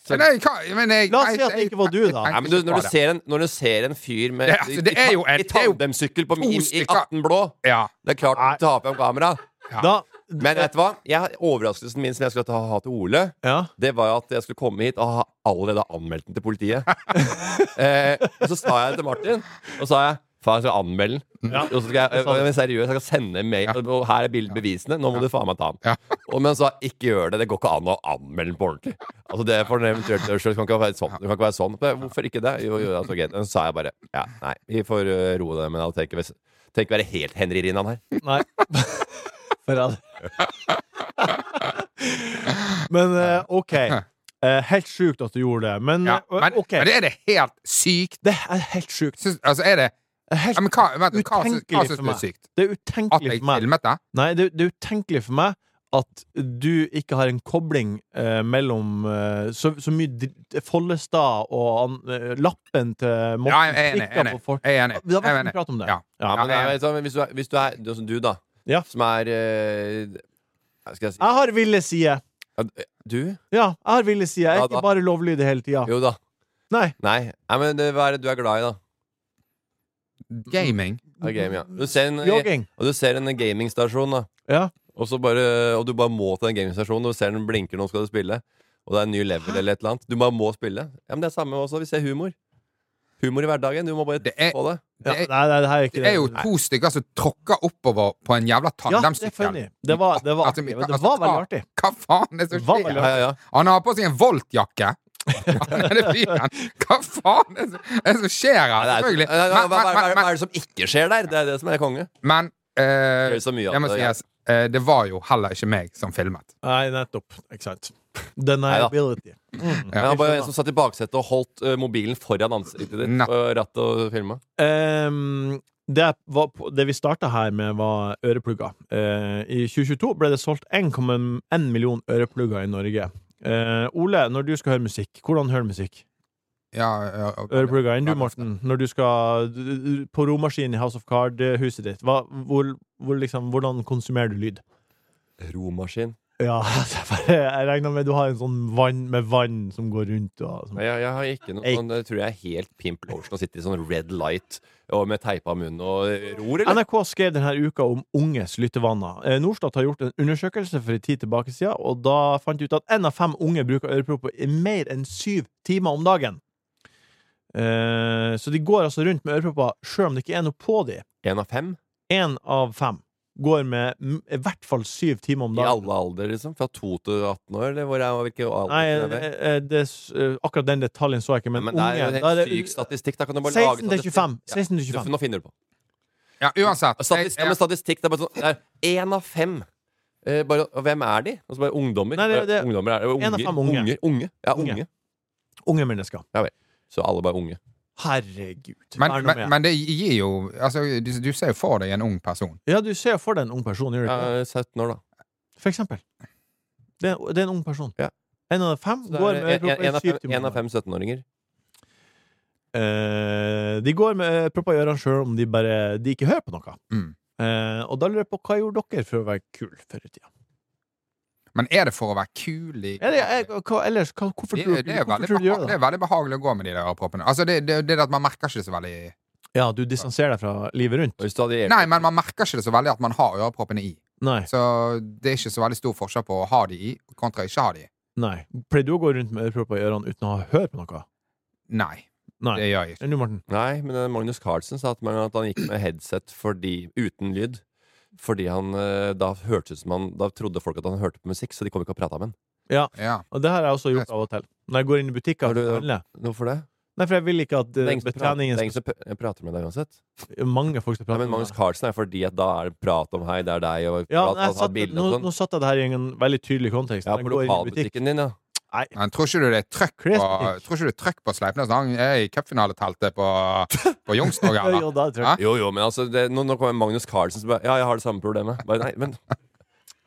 [SPEAKER 1] Men nei, hva, men jeg,
[SPEAKER 3] La oss si
[SPEAKER 1] jeg-
[SPEAKER 3] at det
[SPEAKER 1] jeg-
[SPEAKER 3] ikke var du,
[SPEAKER 1] jeg
[SPEAKER 3] da.
[SPEAKER 1] tenkte
[SPEAKER 4] Nei, men du,
[SPEAKER 1] ikke på
[SPEAKER 4] når, du
[SPEAKER 1] det.
[SPEAKER 4] ser en, når du ser en fyr med,
[SPEAKER 1] Det- altså, det er jo en-
[SPEAKER 4] i
[SPEAKER 1] det er jo
[SPEAKER 4] tandemsykkel på-
[SPEAKER 1] to
[SPEAKER 4] i, i
[SPEAKER 1] stykker.
[SPEAKER 4] 18 blå
[SPEAKER 1] Ja.
[SPEAKER 4] Det er klart du tar fram kamera.
[SPEAKER 1] Ja.
[SPEAKER 3] Da
[SPEAKER 4] Men vet du hva? Jeg, overraskelsen min som jeg skulle ta, ha til Ole,
[SPEAKER 3] Ja.
[SPEAKER 4] det var at jeg skulle komme hit og ha allerede anmeldt den til politiet. eh, og så sa jeg det til Martin, og sa jeg Faen, jeg skal anmelde
[SPEAKER 1] Mm.
[SPEAKER 4] den.
[SPEAKER 3] Ja.
[SPEAKER 4] Og så skal jeg, jeg, jeg, seriøst, jeg skal sende en mail, og her er bild- bevisene. Nå må du faen meg ta den.
[SPEAKER 1] Ja.
[SPEAKER 4] Og, men han sa ikke gjør det. Det går ikke an å anmelde den på ordentlig. Altså det er for en eventuelt ørsel, det kan ikke være sånn. Det kan ikke være sånn. Men Hvorfor ikke det? Jo, jo, altså, ok. Så sa jeg bare ja, nei, vi får eh, roe det, men jeg tenker, hvis- tenker å være helt Henri Rinnan her.
[SPEAKER 3] Nei. For all Men eh, OK. Eh, helt sjukt at du gjorde det, men,
[SPEAKER 1] Ja,
[SPEAKER 3] eh,
[SPEAKER 1] men,
[SPEAKER 3] OK.
[SPEAKER 1] men det er det helt sykt
[SPEAKER 3] Det er helt sjukt.
[SPEAKER 1] Syns- Altså, er det
[SPEAKER 3] Det er
[SPEAKER 1] ja,
[SPEAKER 3] Helt
[SPEAKER 1] men hva, vent, hva, syns- hva
[SPEAKER 3] utenkelig
[SPEAKER 1] syns
[SPEAKER 3] for
[SPEAKER 1] du er
[SPEAKER 3] meg.
[SPEAKER 1] sykt?
[SPEAKER 3] Det er
[SPEAKER 1] At
[SPEAKER 3] utenkelig
[SPEAKER 1] jeg
[SPEAKER 3] for meg.
[SPEAKER 1] filmet det?
[SPEAKER 3] Nei, det, det er utenkelig for meg at du ikke har en kobling eh, mellom eh, så, så mye dr- Follestad og an, eh, lappen til
[SPEAKER 1] Ja, jeg
[SPEAKER 3] Morten
[SPEAKER 1] er enig.
[SPEAKER 3] Strikka
[SPEAKER 1] Jeg er enig.
[SPEAKER 3] på for-
[SPEAKER 1] Jeg er enig.
[SPEAKER 3] Det har
[SPEAKER 1] Jeg er
[SPEAKER 3] vært
[SPEAKER 1] enig.
[SPEAKER 3] mye prat om det.
[SPEAKER 1] Ja.
[SPEAKER 4] Ja, men
[SPEAKER 1] jeg er enig.
[SPEAKER 4] jeg, vet, hvis, du er, hvis du er du, som du, da,
[SPEAKER 3] Ja.
[SPEAKER 4] som er eh, Hva skal jeg si
[SPEAKER 3] Jeg har ville side.
[SPEAKER 4] Du?
[SPEAKER 3] Ja, jeg har ville side. Jeg
[SPEAKER 4] Ja,
[SPEAKER 3] er
[SPEAKER 4] da-
[SPEAKER 3] ikke bare lovlydig hele tida.
[SPEAKER 4] Jo da.
[SPEAKER 3] Nei.
[SPEAKER 4] Nei. Nei men det, hva er det du er glad i, da?
[SPEAKER 1] Gaming.
[SPEAKER 4] Av game, ja. du ser en,
[SPEAKER 3] Jogging.
[SPEAKER 4] og du ser en gamingstasjon, da.
[SPEAKER 3] Ja.
[SPEAKER 4] Og, så bare, og du bare må til den gamingstasjonen, og du ser den blinker, nå skal du spille. Og det er en ny level eller et eller annet. Du bare må spille. Ja, men Det er samme også. Vi ser humor. Humor i hverdagen. Du må bare
[SPEAKER 1] Det er-
[SPEAKER 4] få det.
[SPEAKER 3] Ja,
[SPEAKER 1] Det er-
[SPEAKER 3] nei, nei, det her er ikke
[SPEAKER 1] Det er jo to stykker som tråkker oppover på en jævla
[SPEAKER 3] Ja, det er
[SPEAKER 1] tandemsykkel.
[SPEAKER 3] funny. Det var, det var,
[SPEAKER 1] Altså,
[SPEAKER 3] artig.
[SPEAKER 1] men-
[SPEAKER 3] Det var veldig
[SPEAKER 1] altså,
[SPEAKER 3] artig.
[SPEAKER 1] Hva faen er det som
[SPEAKER 3] Hva var
[SPEAKER 1] skjer?
[SPEAKER 3] det?
[SPEAKER 4] Ja, ja, ja.
[SPEAKER 1] Han har på seg en Volt-jakke. Han er den fyren. Hva faen er det som- er det som skjer her?
[SPEAKER 4] Nei, det er,
[SPEAKER 1] Selvfølgelig.
[SPEAKER 4] nei, nei,
[SPEAKER 1] Men,
[SPEAKER 4] hva, hva, hva,
[SPEAKER 1] men, men,
[SPEAKER 4] hva er det som ikke skjer der? Det er det som er konge.
[SPEAKER 1] men eh,
[SPEAKER 4] Det er så mye av
[SPEAKER 1] jeg må
[SPEAKER 4] det,
[SPEAKER 1] si,
[SPEAKER 4] ja.
[SPEAKER 1] eh, det var jo heller ikke meg som filmet.
[SPEAKER 3] Nei, nettopp. Ikke sant. Deniability. Mm.
[SPEAKER 4] Ja,
[SPEAKER 3] Jeg
[SPEAKER 4] bare
[SPEAKER 3] skjønner.
[SPEAKER 4] en som satt i baksetet og holdt eh, mobilen foran ansiktet ditt.
[SPEAKER 1] Nett-
[SPEAKER 4] Og rattet og filma.
[SPEAKER 3] Ehm, det, var på, det vi starta her med, var øreplugger. Eh, I 2022 ble det solgt 1,1 million øreplugger i Norge. Eh, Ole, når du skal høre musikk, hvordan hører du musikk?
[SPEAKER 1] Ja, ja, ja.
[SPEAKER 3] Øreplugger inn, du, Morten. Når du skal du- du- på romaskinen i House of Card-huset ditt, hva, hvor, hvor, liksom, hvordan konsumerer du lyd?
[SPEAKER 4] Romaskin.
[SPEAKER 3] Ja, jeg bare- jeg regner med du har en sånn vann med vann som går rundt og sånn.
[SPEAKER 4] Nei, jeg, jeg har ikke noe
[SPEAKER 3] Ei.
[SPEAKER 4] sånn Jeg tror jeg er helt Pimp Lotion og sitter i sånn red light og med teipa munn og ror, eller?
[SPEAKER 3] NRK skrev denne uka om unges lyttevaner. Eh, Norstat har gjort en undersøkelse for en tid tilbake siden, og da fant de ut at én av fem unge bruker ørepropper i mer enn syv timer om dagen. Eh, så de går altså rundt med ørepropper sjøl om det ikke er noe på de.
[SPEAKER 4] En av fem?
[SPEAKER 3] Én av fem går med m- i hvert fall syv timer om
[SPEAKER 4] I
[SPEAKER 3] dagen.
[SPEAKER 4] alle alder, liksom? Fra 2 til 18 år? Eller hvor er, hvilken alder
[SPEAKER 3] Nei,
[SPEAKER 4] er det?
[SPEAKER 3] eh, eh, det, er s- eh, akkurat den detaljen så jeg ikke, men,
[SPEAKER 4] Men det er jo
[SPEAKER 3] unge
[SPEAKER 4] en
[SPEAKER 3] da er
[SPEAKER 4] helt
[SPEAKER 3] det-
[SPEAKER 4] syk statistikk. Da kan du bare
[SPEAKER 3] 16
[SPEAKER 4] lage
[SPEAKER 3] til 25.
[SPEAKER 4] statistikk.
[SPEAKER 3] 16 til
[SPEAKER 4] Ja,
[SPEAKER 3] 25.
[SPEAKER 4] du- nå finner du på.
[SPEAKER 1] Ja, uansett. Jeg,
[SPEAKER 4] Statistikk, ja, men
[SPEAKER 1] jeg,
[SPEAKER 4] statistikk det er bare sånn det er Én av fem. Eh, bare, og hvem er de? Og så bare ungdommer.
[SPEAKER 3] Nei, det- det-
[SPEAKER 4] ungdommer er,
[SPEAKER 3] en av
[SPEAKER 4] unger,
[SPEAKER 3] fem unge.
[SPEAKER 4] unger. Unge. Ja, unge.
[SPEAKER 3] Unge. Unge mennesker.
[SPEAKER 4] Så alle bare unge.
[SPEAKER 3] Herregud. Vær
[SPEAKER 1] men,
[SPEAKER 3] nå med.
[SPEAKER 1] men, men det gir jo altså, du, du ser jo for deg en ung person.
[SPEAKER 3] Ja, du ser for deg en ung person, gjør du ikke?
[SPEAKER 4] Ja, 17 Eh, år, da.
[SPEAKER 3] det? For eksempel. Det er, det er en ung person.
[SPEAKER 4] Ja.
[SPEAKER 3] En av fem
[SPEAKER 4] Så
[SPEAKER 3] går
[SPEAKER 4] er
[SPEAKER 3] med
[SPEAKER 4] det en, en,
[SPEAKER 3] propper
[SPEAKER 4] en,
[SPEAKER 3] i
[SPEAKER 4] av fem,
[SPEAKER 3] syvtimeren.
[SPEAKER 4] en av fem 17-åringer.
[SPEAKER 3] Eh, de går med eh, propper i ørene sjøl om de bare de ikke hører på noe.
[SPEAKER 1] Mm.
[SPEAKER 3] Eh, og da lurer jeg på hva gjorde dere for å være kul før i tida?
[SPEAKER 1] Men er det for å være kul i
[SPEAKER 3] Er det, er, eh, hva, ellers, hva, hvorfor
[SPEAKER 1] Det,
[SPEAKER 3] tror
[SPEAKER 1] det, er
[SPEAKER 3] du hvorfor
[SPEAKER 1] veldig,
[SPEAKER 3] tror du de
[SPEAKER 1] beha-
[SPEAKER 3] gjør
[SPEAKER 1] det
[SPEAKER 3] det?
[SPEAKER 1] er veldig behagelig å gå med de der øreproppene. Altså, det, det, det er at man merker ikke det så veldig
[SPEAKER 3] Ja, du distanserer deg fra livet rundt?
[SPEAKER 4] Og hvis du hadde
[SPEAKER 1] Nei, men man merker ikke det så veldig at man har øreproppene i.
[SPEAKER 3] Nei.
[SPEAKER 1] Så det er ikke så veldig stor forskjell på å ha de i kontra ikke ha de i.
[SPEAKER 3] nei. Pleier du å gå rundt med ørepropper i ørene uten å ha høre på noe?
[SPEAKER 1] Nei,
[SPEAKER 3] Nei.
[SPEAKER 1] det gjør jeg ikke.
[SPEAKER 3] Enn du, Morten?
[SPEAKER 4] Nei, men eh, Magnus Carlsen sa at, man, at han gikk med headset fordi, uten lyd. Fordi han eh, da hørtes ut som han Da trodde folk at han hørte på musikk, så de kom ikke og prata med han.
[SPEAKER 1] Ja.
[SPEAKER 3] Og det har jeg også gjort av og til. Når jeg går inn i butikker
[SPEAKER 4] Har du-
[SPEAKER 3] og handler.
[SPEAKER 4] Hvorfor det?
[SPEAKER 3] Nei, for jeg vil ikke at
[SPEAKER 4] Det
[SPEAKER 3] eh,
[SPEAKER 4] er ingen som prater- det
[SPEAKER 3] betjeningen
[SPEAKER 4] er ingen som pr- prater med deg uansett.
[SPEAKER 3] Mange folk skal
[SPEAKER 4] Nei,
[SPEAKER 3] prate
[SPEAKER 4] men
[SPEAKER 3] med meg.
[SPEAKER 4] Magnus Carlsen er fordi at da er det prat om 'hei, det er deg', og
[SPEAKER 3] Ja,
[SPEAKER 4] prat,
[SPEAKER 3] men jeg
[SPEAKER 4] ta- ta
[SPEAKER 3] satt,
[SPEAKER 4] bilder
[SPEAKER 3] nå,
[SPEAKER 4] og sånn.
[SPEAKER 3] nå satt jeg det her i en veldig tydelig kontekst.
[SPEAKER 4] Ja,
[SPEAKER 3] Når
[SPEAKER 4] på
[SPEAKER 3] jeg går inn i butikk-
[SPEAKER 4] lokalbutikken din, ja.
[SPEAKER 1] Men tror ikke du det er trøkk på,
[SPEAKER 3] Klesbutikk.
[SPEAKER 1] tror ikke du det er trøkk på Sleipnes? Han er i cupfinaleteltet på, på Youngstorget,
[SPEAKER 3] Ja,
[SPEAKER 1] eller?
[SPEAKER 3] jo, da tror jeg.
[SPEAKER 1] Hæ?
[SPEAKER 4] Jo, jo, men altså det, nå, nå kommer Magnus Carlsen som bare Ja, jeg har det samme problemet. Bare, nei, men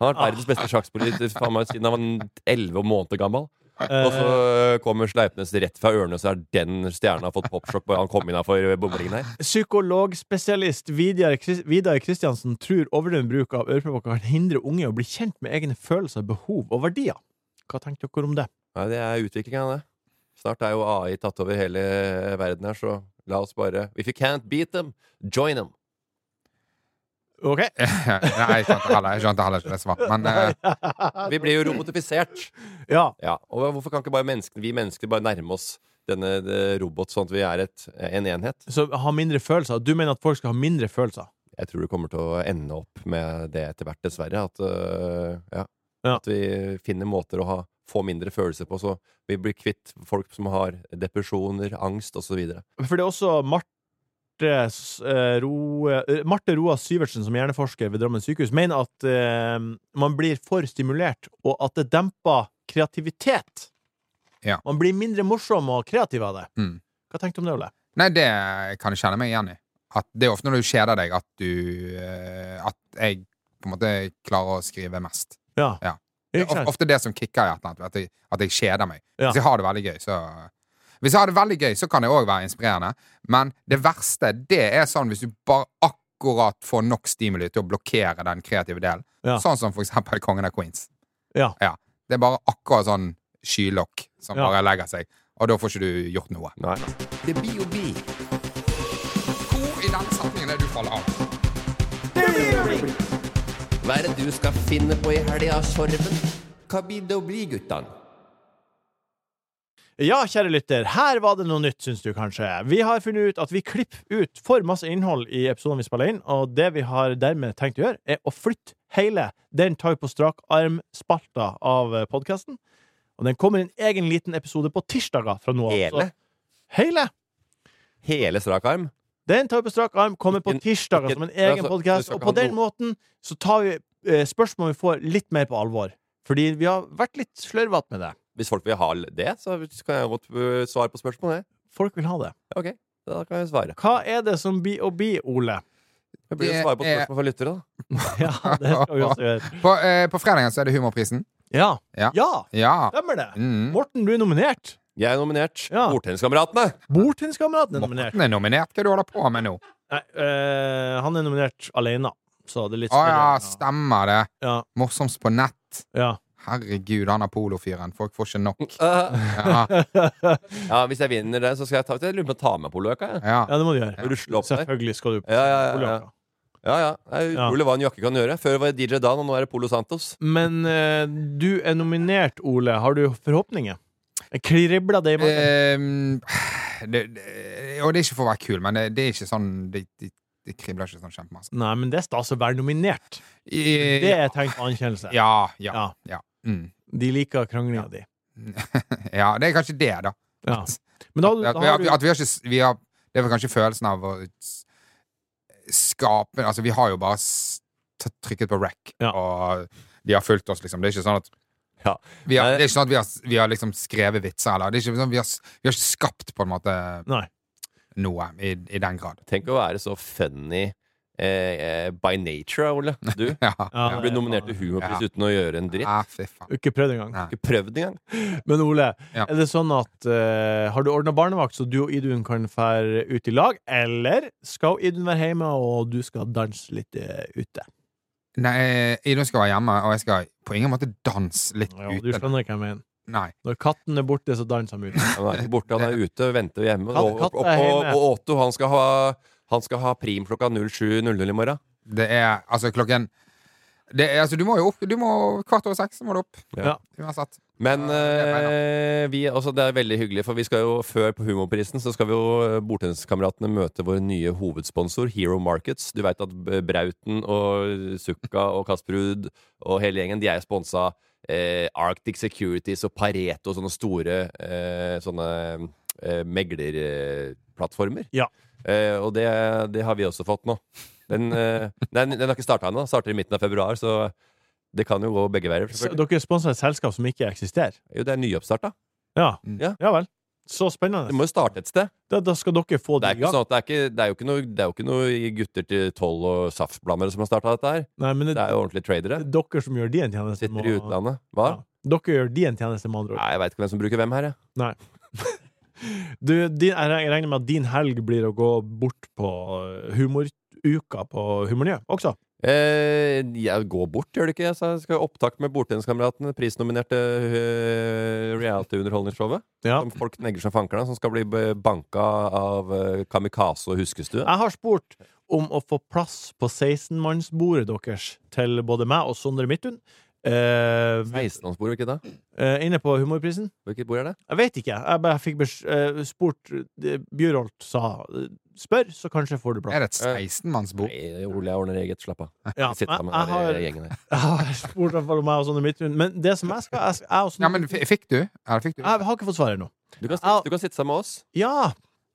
[SPEAKER 4] Han har vært verdens beste sjakkspiller faen meg, siden han var 11 måneder gammel.
[SPEAKER 3] Eh,
[SPEAKER 4] Og så øh, kommer Sleipnes rett fra ørene, og så er den stjerna fått popsjokk bare han kom innafor bomringen her.
[SPEAKER 3] Psykologspesialist Vidar Kris- Vidar Kristiansen tror overdreven bruk av ørepropper kan hindre unge å bli kjent med egne følelser, behov og verdier. Hva tenker dere om det?
[SPEAKER 4] Nei, det er utviklinga, det. Snart er jo AI tatt over hele verden her, så la oss bare If you can't beat them, join them.
[SPEAKER 3] Ok.
[SPEAKER 1] Nei, jeg skjønte heller, jeg skjønte heller ikke det svaret. Men eh,
[SPEAKER 4] Vi blir jo robotifisert.
[SPEAKER 3] Ja.
[SPEAKER 4] Ja, og hvorfor kan ikke bare menneskene, vi mennesker bare nærme oss denne eh, robot, sånn at vi er et, en enhet?
[SPEAKER 3] Så ha mindre følelser. Du mener at folk skal ha mindre følelser?
[SPEAKER 4] Jeg tror det kommer til å ende opp med det etter hvert, dessverre. At, eh, ja,
[SPEAKER 3] Ja.
[SPEAKER 4] at vi finner måter å ha, få mindre følelser på, så vi blir kvitt folk som har depresjoner, angst osv.
[SPEAKER 3] For det er også Marte S- eh, Roe eh, Marte Roa Syvertsen, som er hjerneforsker ved Drammen sykehus, mener at eh, man blir for stimulert, og at det demper kreativitet.
[SPEAKER 1] Ja.
[SPEAKER 3] Man blir mindre morsom og kreativ av det.
[SPEAKER 1] Mm.
[SPEAKER 3] Hva tenkte du om det, Ole?
[SPEAKER 1] nei, det kan jeg kjenne meg igjen i. At det er ofte når du kjeder deg, at du eh, At jeg på en måte klarer å skrive mest.
[SPEAKER 3] Ja.
[SPEAKER 1] Ja. Det
[SPEAKER 3] Ikke
[SPEAKER 1] er
[SPEAKER 3] sant?
[SPEAKER 1] ofte det som kicker i et eller annet, at jeg, at jeg kjeder meg.
[SPEAKER 3] Ja.
[SPEAKER 1] Hvis jeg har det veldig gøy, så Hvis jeg har det veldig gøy, så kan det òg være inspirerende, men det verste, det er sånn hvis du bare akkurat får nok stimuli til å blokkere den kreative delen.
[SPEAKER 3] Ja.
[SPEAKER 1] Sånn som for eksempel Kongen av Queens.
[SPEAKER 3] Ja.
[SPEAKER 1] Det er bare akkurat sånn skylokk som
[SPEAKER 3] Ja.
[SPEAKER 1] bare legger seg, og da får ikke du gjort noe.
[SPEAKER 4] Nei. Det blir jo bi.
[SPEAKER 1] Hvor i den setningen er det du faller av?
[SPEAKER 4] Hva er det du skal finne på i helga, Sorven? Hva blir det å bli, guttan?
[SPEAKER 3] Ja, kjære lytter, her var det noe nytt, syns du kanskje. Vi har funnet ut at vi klipper ut for masse innhold i episoden vi spiller inn, og det vi har dermed tenkt å gjøre, er å flytte hele Den tar vi på strak arm-spalta av podkasten. Og den kommer i en egen liten episode på tirsdager fra nå av.
[SPEAKER 4] Hele?
[SPEAKER 3] Så- Hele!
[SPEAKER 4] Hele strak arm?
[SPEAKER 3] Den tar vi på strak arm, kommer på
[SPEAKER 4] Ikke-
[SPEAKER 3] tirsdager
[SPEAKER 4] ikke-
[SPEAKER 3] som en
[SPEAKER 4] altså,
[SPEAKER 3] egen
[SPEAKER 4] du
[SPEAKER 3] podkast,
[SPEAKER 4] skal
[SPEAKER 3] og på
[SPEAKER 4] ikke ha
[SPEAKER 3] den måten så tar vi eh, spørsmål vi får, litt mer på alvor. Fordi vi har vært litt slørvete med det.
[SPEAKER 4] Hvis folk vil ha det, så kan jeg godt øh, svare på spørsmålet.
[SPEAKER 3] Folk vil ha det.
[SPEAKER 4] Ok, da kan jeg svare.
[SPEAKER 3] Hva er det som blir å bli, Ole?
[SPEAKER 4] Jeg blir
[SPEAKER 1] Det
[SPEAKER 4] å svare på
[SPEAKER 1] er-
[SPEAKER 4] spørsmål fra lyttere, da.
[SPEAKER 3] Ja, det skal vi også gjøre.
[SPEAKER 1] På, eh, på fredagen så er det Humorprisen.
[SPEAKER 3] Ja.
[SPEAKER 1] Ja.
[SPEAKER 3] ja,
[SPEAKER 1] Ja.
[SPEAKER 3] stemmer det.
[SPEAKER 1] Mm.
[SPEAKER 3] Morten, du er nominert.
[SPEAKER 4] Jeg er nominert.
[SPEAKER 3] Ja.
[SPEAKER 4] Bordtenniskameratene!
[SPEAKER 3] Bordtenniskameraten er nominert.
[SPEAKER 1] Morten er nominert. Hva er det du holder på med nå?
[SPEAKER 3] Nei, eh, han er nominert alene, så det er litt
[SPEAKER 1] Å ja,
[SPEAKER 3] spennende.
[SPEAKER 1] stemmer det.
[SPEAKER 3] Ja,
[SPEAKER 1] Morsomst på nett.
[SPEAKER 3] ja.
[SPEAKER 1] Herregud, han apolofyren. Folk får ikke nok.
[SPEAKER 4] Eh,
[SPEAKER 1] Ja,
[SPEAKER 4] ja, hvis jeg vinner det, så skal jeg ta, jeg lurer på om jeg tar med polojakka. jeg.
[SPEAKER 1] ja.
[SPEAKER 3] ja, det må du gjøre.
[SPEAKER 4] Rusle opp der.
[SPEAKER 3] Selvfølgelig skal du på
[SPEAKER 4] Ja, ja, ja, ja.
[SPEAKER 3] Olympiaden.
[SPEAKER 4] Ja, ja. Det er utrolig hva en jakke kan gjøre. Før var jeg DJ Dan, og nå er det Polo Santos.
[SPEAKER 3] Men eh, du er nominert, Ole. Har du forhåpninger? Jeg Kribla det i morgen?
[SPEAKER 1] Ehm, det, det, og det er ikke for å være kul, men det, det er ikke sånn Det, det, det kribler ikke sånn kjempemasse.
[SPEAKER 3] Nei, men det er stas å være nominert.
[SPEAKER 1] I-
[SPEAKER 3] Det er tegn på anerkjennelse.
[SPEAKER 1] eh, Ja, ja,
[SPEAKER 3] Ja.
[SPEAKER 1] ja. Mm.
[SPEAKER 3] De liker kranglinga di.
[SPEAKER 1] ja. Det er kanskje det, da.
[SPEAKER 3] Ja. Men da,
[SPEAKER 1] At,
[SPEAKER 3] da
[SPEAKER 1] vi,
[SPEAKER 3] har
[SPEAKER 1] at,
[SPEAKER 3] du
[SPEAKER 1] vi, at vi har ikke s- vi har, Det er vel kanskje følelsen av å s- skape Altså, vi har jo bare s- t- trykket på rec,
[SPEAKER 3] Ja.
[SPEAKER 1] og de har fulgt oss, liksom. Det er ikke sånn at
[SPEAKER 4] Ja.
[SPEAKER 1] vi har,
[SPEAKER 4] Nei.
[SPEAKER 1] det er ikke sånn at vi har, s- vi har liksom skrevet vitser, eller det er ikke sånn, vi, har, s- vi har ikke skapt på en måte
[SPEAKER 3] Nei.
[SPEAKER 1] noe i, i den grad.
[SPEAKER 4] Tenk å være så funny eh, eh, by nature, Ole. Du
[SPEAKER 1] Ja.
[SPEAKER 3] Ja.
[SPEAKER 4] Du ble nominert til Humorpris
[SPEAKER 1] Ja.
[SPEAKER 4] uten å gjøre en dritt.
[SPEAKER 1] ja, fy faen.
[SPEAKER 3] Ikke prøvd engang.
[SPEAKER 1] Nei.
[SPEAKER 4] Ikke prøvd engang.
[SPEAKER 3] Men Ole,
[SPEAKER 1] Ja.
[SPEAKER 3] er det sånn at eh, har du ordna barnevakt, så du og Idun kan fære ut i lag? Eller skal Idun være hjemme, og du skal danse litt eh, ute?
[SPEAKER 1] Nei, Idun skal være hjemme, og jeg skal på ingen måte danse litt
[SPEAKER 3] Jo, du
[SPEAKER 1] ute.
[SPEAKER 3] skjønner hva jeg mener.
[SPEAKER 1] Nei.
[SPEAKER 3] Når katten er borte, så danser han ute.
[SPEAKER 4] Han er ikke borte, han er ute, venter hjemme.
[SPEAKER 3] Katt-
[SPEAKER 4] Og, og,
[SPEAKER 3] katt
[SPEAKER 4] og,
[SPEAKER 3] er
[SPEAKER 4] og,
[SPEAKER 3] hjemme.
[SPEAKER 4] Otto, han skal ha han skal ha prim klokka 07.00 i morgen.
[SPEAKER 1] Det er altså klokken det er, altså, Du må jo opp du må, kvart over seks. så må du opp.
[SPEAKER 4] Ja.
[SPEAKER 1] Uansett.
[SPEAKER 4] Men
[SPEAKER 1] Ja, det er
[SPEAKER 4] eh, vi, altså, det er veldig hyggelig, for vi skal jo før på Humorprisen så skal vi jo eh, Bordtenniskameratene møte vår nye hovedsponsor, Hero Markets. Du veit at B- Brauten og Sukka og Kasper Ruud og hele gjengen, de er jo sponsa eh, Arctic Securities og Pareto, sånne store eh, sånne eh, meglerplattformer.
[SPEAKER 3] Ja.
[SPEAKER 4] Eh, og det, det har vi også fått nå. Den, eh, den, den har ikke starta ennå. Starter i midten av februar, så det kan jo gå begge veier.
[SPEAKER 3] Så
[SPEAKER 4] selvfølgelig.
[SPEAKER 3] Dere sponser et selskap som ikke eksisterer?
[SPEAKER 4] Jo, det er nyoppstart, da.
[SPEAKER 3] Ja.
[SPEAKER 4] Ja.
[SPEAKER 3] ja vel. Så
[SPEAKER 4] Det
[SPEAKER 3] spennende.
[SPEAKER 4] må jo starte et sted.
[SPEAKER 3] Da, da skal dere få
[SPEAKER 4] Det
[SPEAKER 3] det i
[SPEAKER 4] er, ikke
[SPEAKER 3] gang.
[SPEAKER 4] sånn at det, er ikke, det er jo ikke noe, det er jo ikke noe gutter til tolv og saftblandere som har starta dette her.
[SPEAKER 3] Nei, men det,
[SPEAKER 4] Det er jo ordentlige tradere.
[SPEAKER 3] det er dere som gjør de en tjeneste.
[SPEAKER 4] Sitter i
[SPEAKER 3] må-
[SPEAKER 4] utlandet. Hva?
[SPEAKER 3] Ja. Dere gjør de en tjeneste, med andre ord.
[SPEAKER 4] Nei, jeg veit ikke hvem som bruker hvem her, jeg.
[SPEAKER 3] Du, din, jeg reg- regner med at din helg blir å gå bort på eh, humoruka på Humornyø også.
[SPEAKER 4] Eh, jeg går bort, gjør det ikke? Jeg sa jeg skal ha opptak med Bordtenniskameratene, prisnominerte eh, reality-underholdningsshowet.
[SPEAKER 3] Ja.
[SPEAKER 4] Som folk negler som fankerne, som skal bli b- banka av eh, Kamikaze og Huskestue.
[SPEAKER 3] Jeg har spurt om å få plass på 16-mannsbordet deres til både meg og Sondre Midthun. Eh, vi-
[SPEAKER 4] 16-årsbord, ikke da?
[SPEAKER 3] eh, inne på Humorprisen.
[SPEAKER 4] Hvilket bord er det?
[SPEAKER 3] Jeg vet ikke. Jeg bare fikk bes eh, spurt eh, Bjørholt sa eh, spør, så kanskje får du plass.
[SPEAKER 1] Er det et 16-mannsbord?
[SPEAKER 4] Nei, Ole, jeg ordner eget. Slapp av.
[SPEAKER 3] Ja,
[SPEAKER 4] Jeg sitter
[SPEAKER 3] jeg,
[SPEAKER 4] med
[SPEAKER 3] jeg,
[SPEAKER 4] den
[SPEAKER 3] har,
[SPEAKER 4] der gjengen her.
[SPEAKER 3] jeg har spurt i hvert fall om meg og Sondre Midthun, men det som jeg skal Jeg, skal- jeg, og Sondre
[SPEAKER 1] Ja, men f- fikk du? Ja, det fikk du.
[SPEAKER 3] jeg har ikke fått svar ennå.
[SPEAKER 4] Du kan,
[SPEAKER 3] Au.
[SPEAKER 4] sitte- du kan sitte sammen med oss.
[SPEAKER 3] Ja!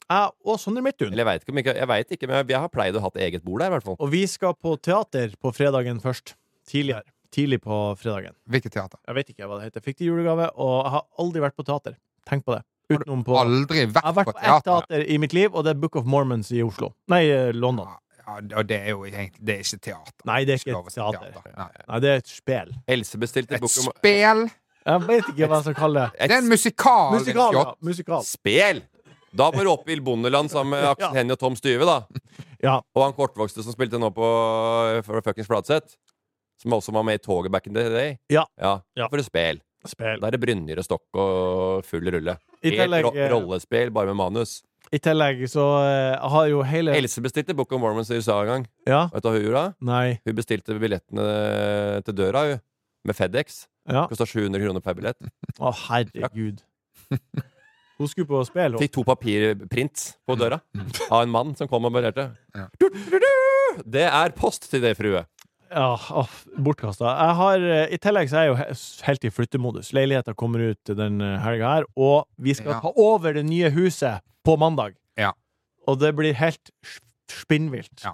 [SPEAKER 3] Jeg og Sondre Midthun.
[SPEAKER 4] Eller jeg veit ikke, om ikke, jeg vet ikke, men jeg, jeg har pleid å hatt eget bord der, i hvert fall.
[SPEAKER 3] Og vi skal på teater på fredagen først. Tidligere. Tidlig på fredagen.
[SPEAKER 1] Hvilket teater?
[SPEAKER 3] Jeg vet ikke hva det heter. Fikk det i julegave, og jeg har aldri vært på teater. Tenk på det. Utenom på Jeg
[SPEAKER 1] Aldri vært,
[SPEAKER 3] har vært
[SPEAKER 1] på
[SPEAKER 3] på ett
[SPEAKER 1] teater.
[SPEAKER 3] teater i mitt liv, og det er Book of Mormons i Oslo. Nei, eh, London.
[SPEAKER 1] Ja, og det er jo egentlig det er ikke teater.
[SPEAKER 3] Nei, det er ikke
[SPEAKER 1] lov å
[SPEAKER 3] et
[SPEAKER 1] si
[SPEAKER 3] teater.
[SPEAKER 1] Nei.
[SPEAKER 3] Nei, det er et spel.
[SPEAKER 4] Else bestilte
[SPEAKER 1] Et
[SPEAKER 4] bok om
[SPEAKER 1] spel!
[SPEAKER 3] Jeg vet ikke hva jeg skal kalle det.
[SPEAKER 1] Det er en musikal!
[SPEAKER 3] Musikal, ja.
[SPEAKER 1] Fjott.
[SPEAKER 3] Musikal.
[SPEAKER 4] Spel! Da må du opp i Bondeland sammen med Aksel
[SPEAKER 3] Ja.
[SPEAKER 4] Hennie og Tom Styve, da.
[SPEAKER 3] Ja.
[SPEAKER 4] Og han kortvokste som spilte nå på for fuckings Fladseth. Som også var med i toget back in the day.
[SPEAKER 3] Ja. Ja.
[SPEAKER 4] For et spel.
[SPEAKER 3] Spel.
[SPEAKER 4] Da er det Brynjer og Stokk og full rulle.
[SPEAKER 3] I
[SPEAKER 4] Helt
[SPEAKER 3] tillegg,
[SPEAKER 4] ro
[SPEAKER 3] eh,
[SPEAKER 4] rollespill, bare med manus.
[SPEAKER 3] I tillegg så eh, har jo hele
[SPEAKER 4] Else bestilte Book of Mormons i USA en gang.
[SPEAKER 3] Ja.
[SPEAKER 4] Vet du hva hun gjorde? da?
[SPEAKER 3] Nei.
[SPEAKER 4] Hun bestilte billettene til døra, hun. Med Fedex.
[SPEAKER 3] Ja.
[SPEAKER 4] Kosta 700 kroner per billett.
[SPEAKER 3] Å, herregud. Hun skulle på spel, hun.
[SPEAKER 4] Fikk to papirprints
[SPEAKER 3] Mm.
[SPEAKER 4] på døra av en mann som kom og berørte.
[SPEAKER 1] Ja.
[SPEAKER 4] Det er post til det, frue.
[SPEAKER 3] Ja, oh, bortkasta. Jeg har, eh, I tillegg så er jeg jo he- helt i flyttemodus. Leiligheta kommer ut den eh, helga her, og vi skal
[SPEAKER 1] Ja.
[SPEAKER 3] ta over det nye huset på mandag.
[SPEAKER 1] Ja.
[SPEAKER 3] Og det blir helt sp- spinnvilt.
[SPEAKER 1] Ja.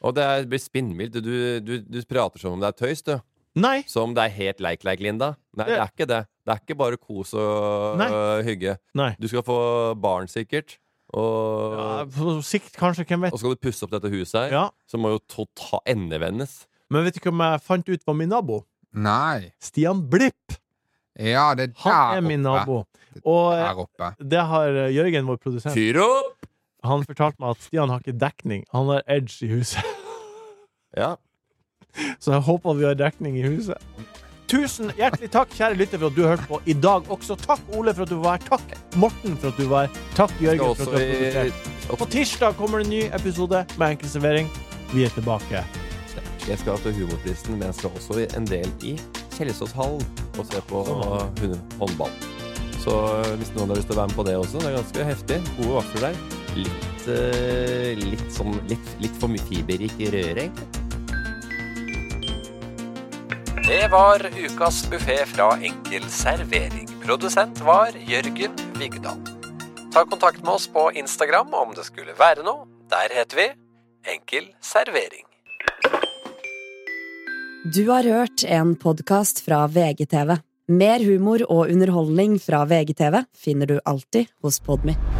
[SPEAKER 4] Og det er- blir spinnvilt. Du, du, du prater som om det er tøys, du.
[SPEAKER 3] Nei!
[SPEAKER 4] Som om det er helt leik-leik, Linda. Nei,
[SPEAKER 3] Det-
[SPEAKER 4] det er ikke det. Det er ikke bare kos og
[SPEAKER 3] Nei.
[SPEAKER 4] øh, hygge.
[SPEAKER 3] Nei.
[SPEAKER 4] Du skal få barn, sikkert. Og,
[SPEAKER 3] Ja, på sikt, kanskje. Hvem vet?
[SPEAKER 4] og skal du pusse opp dette huset her,
[SPEAKER 3] Ja.
[SPEAKER 4] så må jo tota- total endevendes.
[SPEAKER 3] Men vet du hvem jeg fant ut var min nabo?
[SPEAKER 1] Nei.
[SPEAKER 3] Stian Blipp!
[SPEAKER 1] Ja, det er der
[SPEAKER 3] Han er min
[SPEAKER 1] oppe.
[SPEAKER 3] nabo. Og eh,
[SPEAKER 1] Der oppe.
[SPEAKER 3] det har eh, Jørgen, vår produsent,
[SPEAKER 4] Fyr opp!
[SPEAKER 3] han fortalte meg at Stian har ikke dekning. Han har edge i huset.
[SPEAKER 4] Ja.
[SPEAKER 3] Så jeg håper vi har dekning i huset. Tusen hjertelig takk, kjære lytter, for at du hørte på i dag også. Takk, Ole, for at du var her. Takk, Morten, for at du var her. Takk,
[SPEAKER 4] Skal
[SPEAKER 3] Jørgen, for
[SPEAKER 4] også
[SPEAKER 3] at du har
[SPEAKER 4] i,
[SPEAKER 3] produsert. På tirsdag kommer det en ny episode med enkel servering. Vi er tilbake.
[SPEAKER 4] Jeg skal til humorprisen, men jeg skal også en del i Kjelsåshallen og se på hun- håndball. Så eh, hvis noen har lyst til å være med på det også, det er ganske heftig. Gode vafler der. Litt, eh, litt, sånn, litt, litt for mye fiberrik røring.
[SPEAKER 6] Det var ukas buffé fra Enkel servering. Produsent var Jørgen Vigdal. Ta kontakt med oss på Instagram om det skulle være noe. Der heter vi Enkel servering.
[SPEAKER 7] Du har hørt en podkast fra VGTV. Mer humor og underholdning fra VGTV finner du alltid hos Podmy.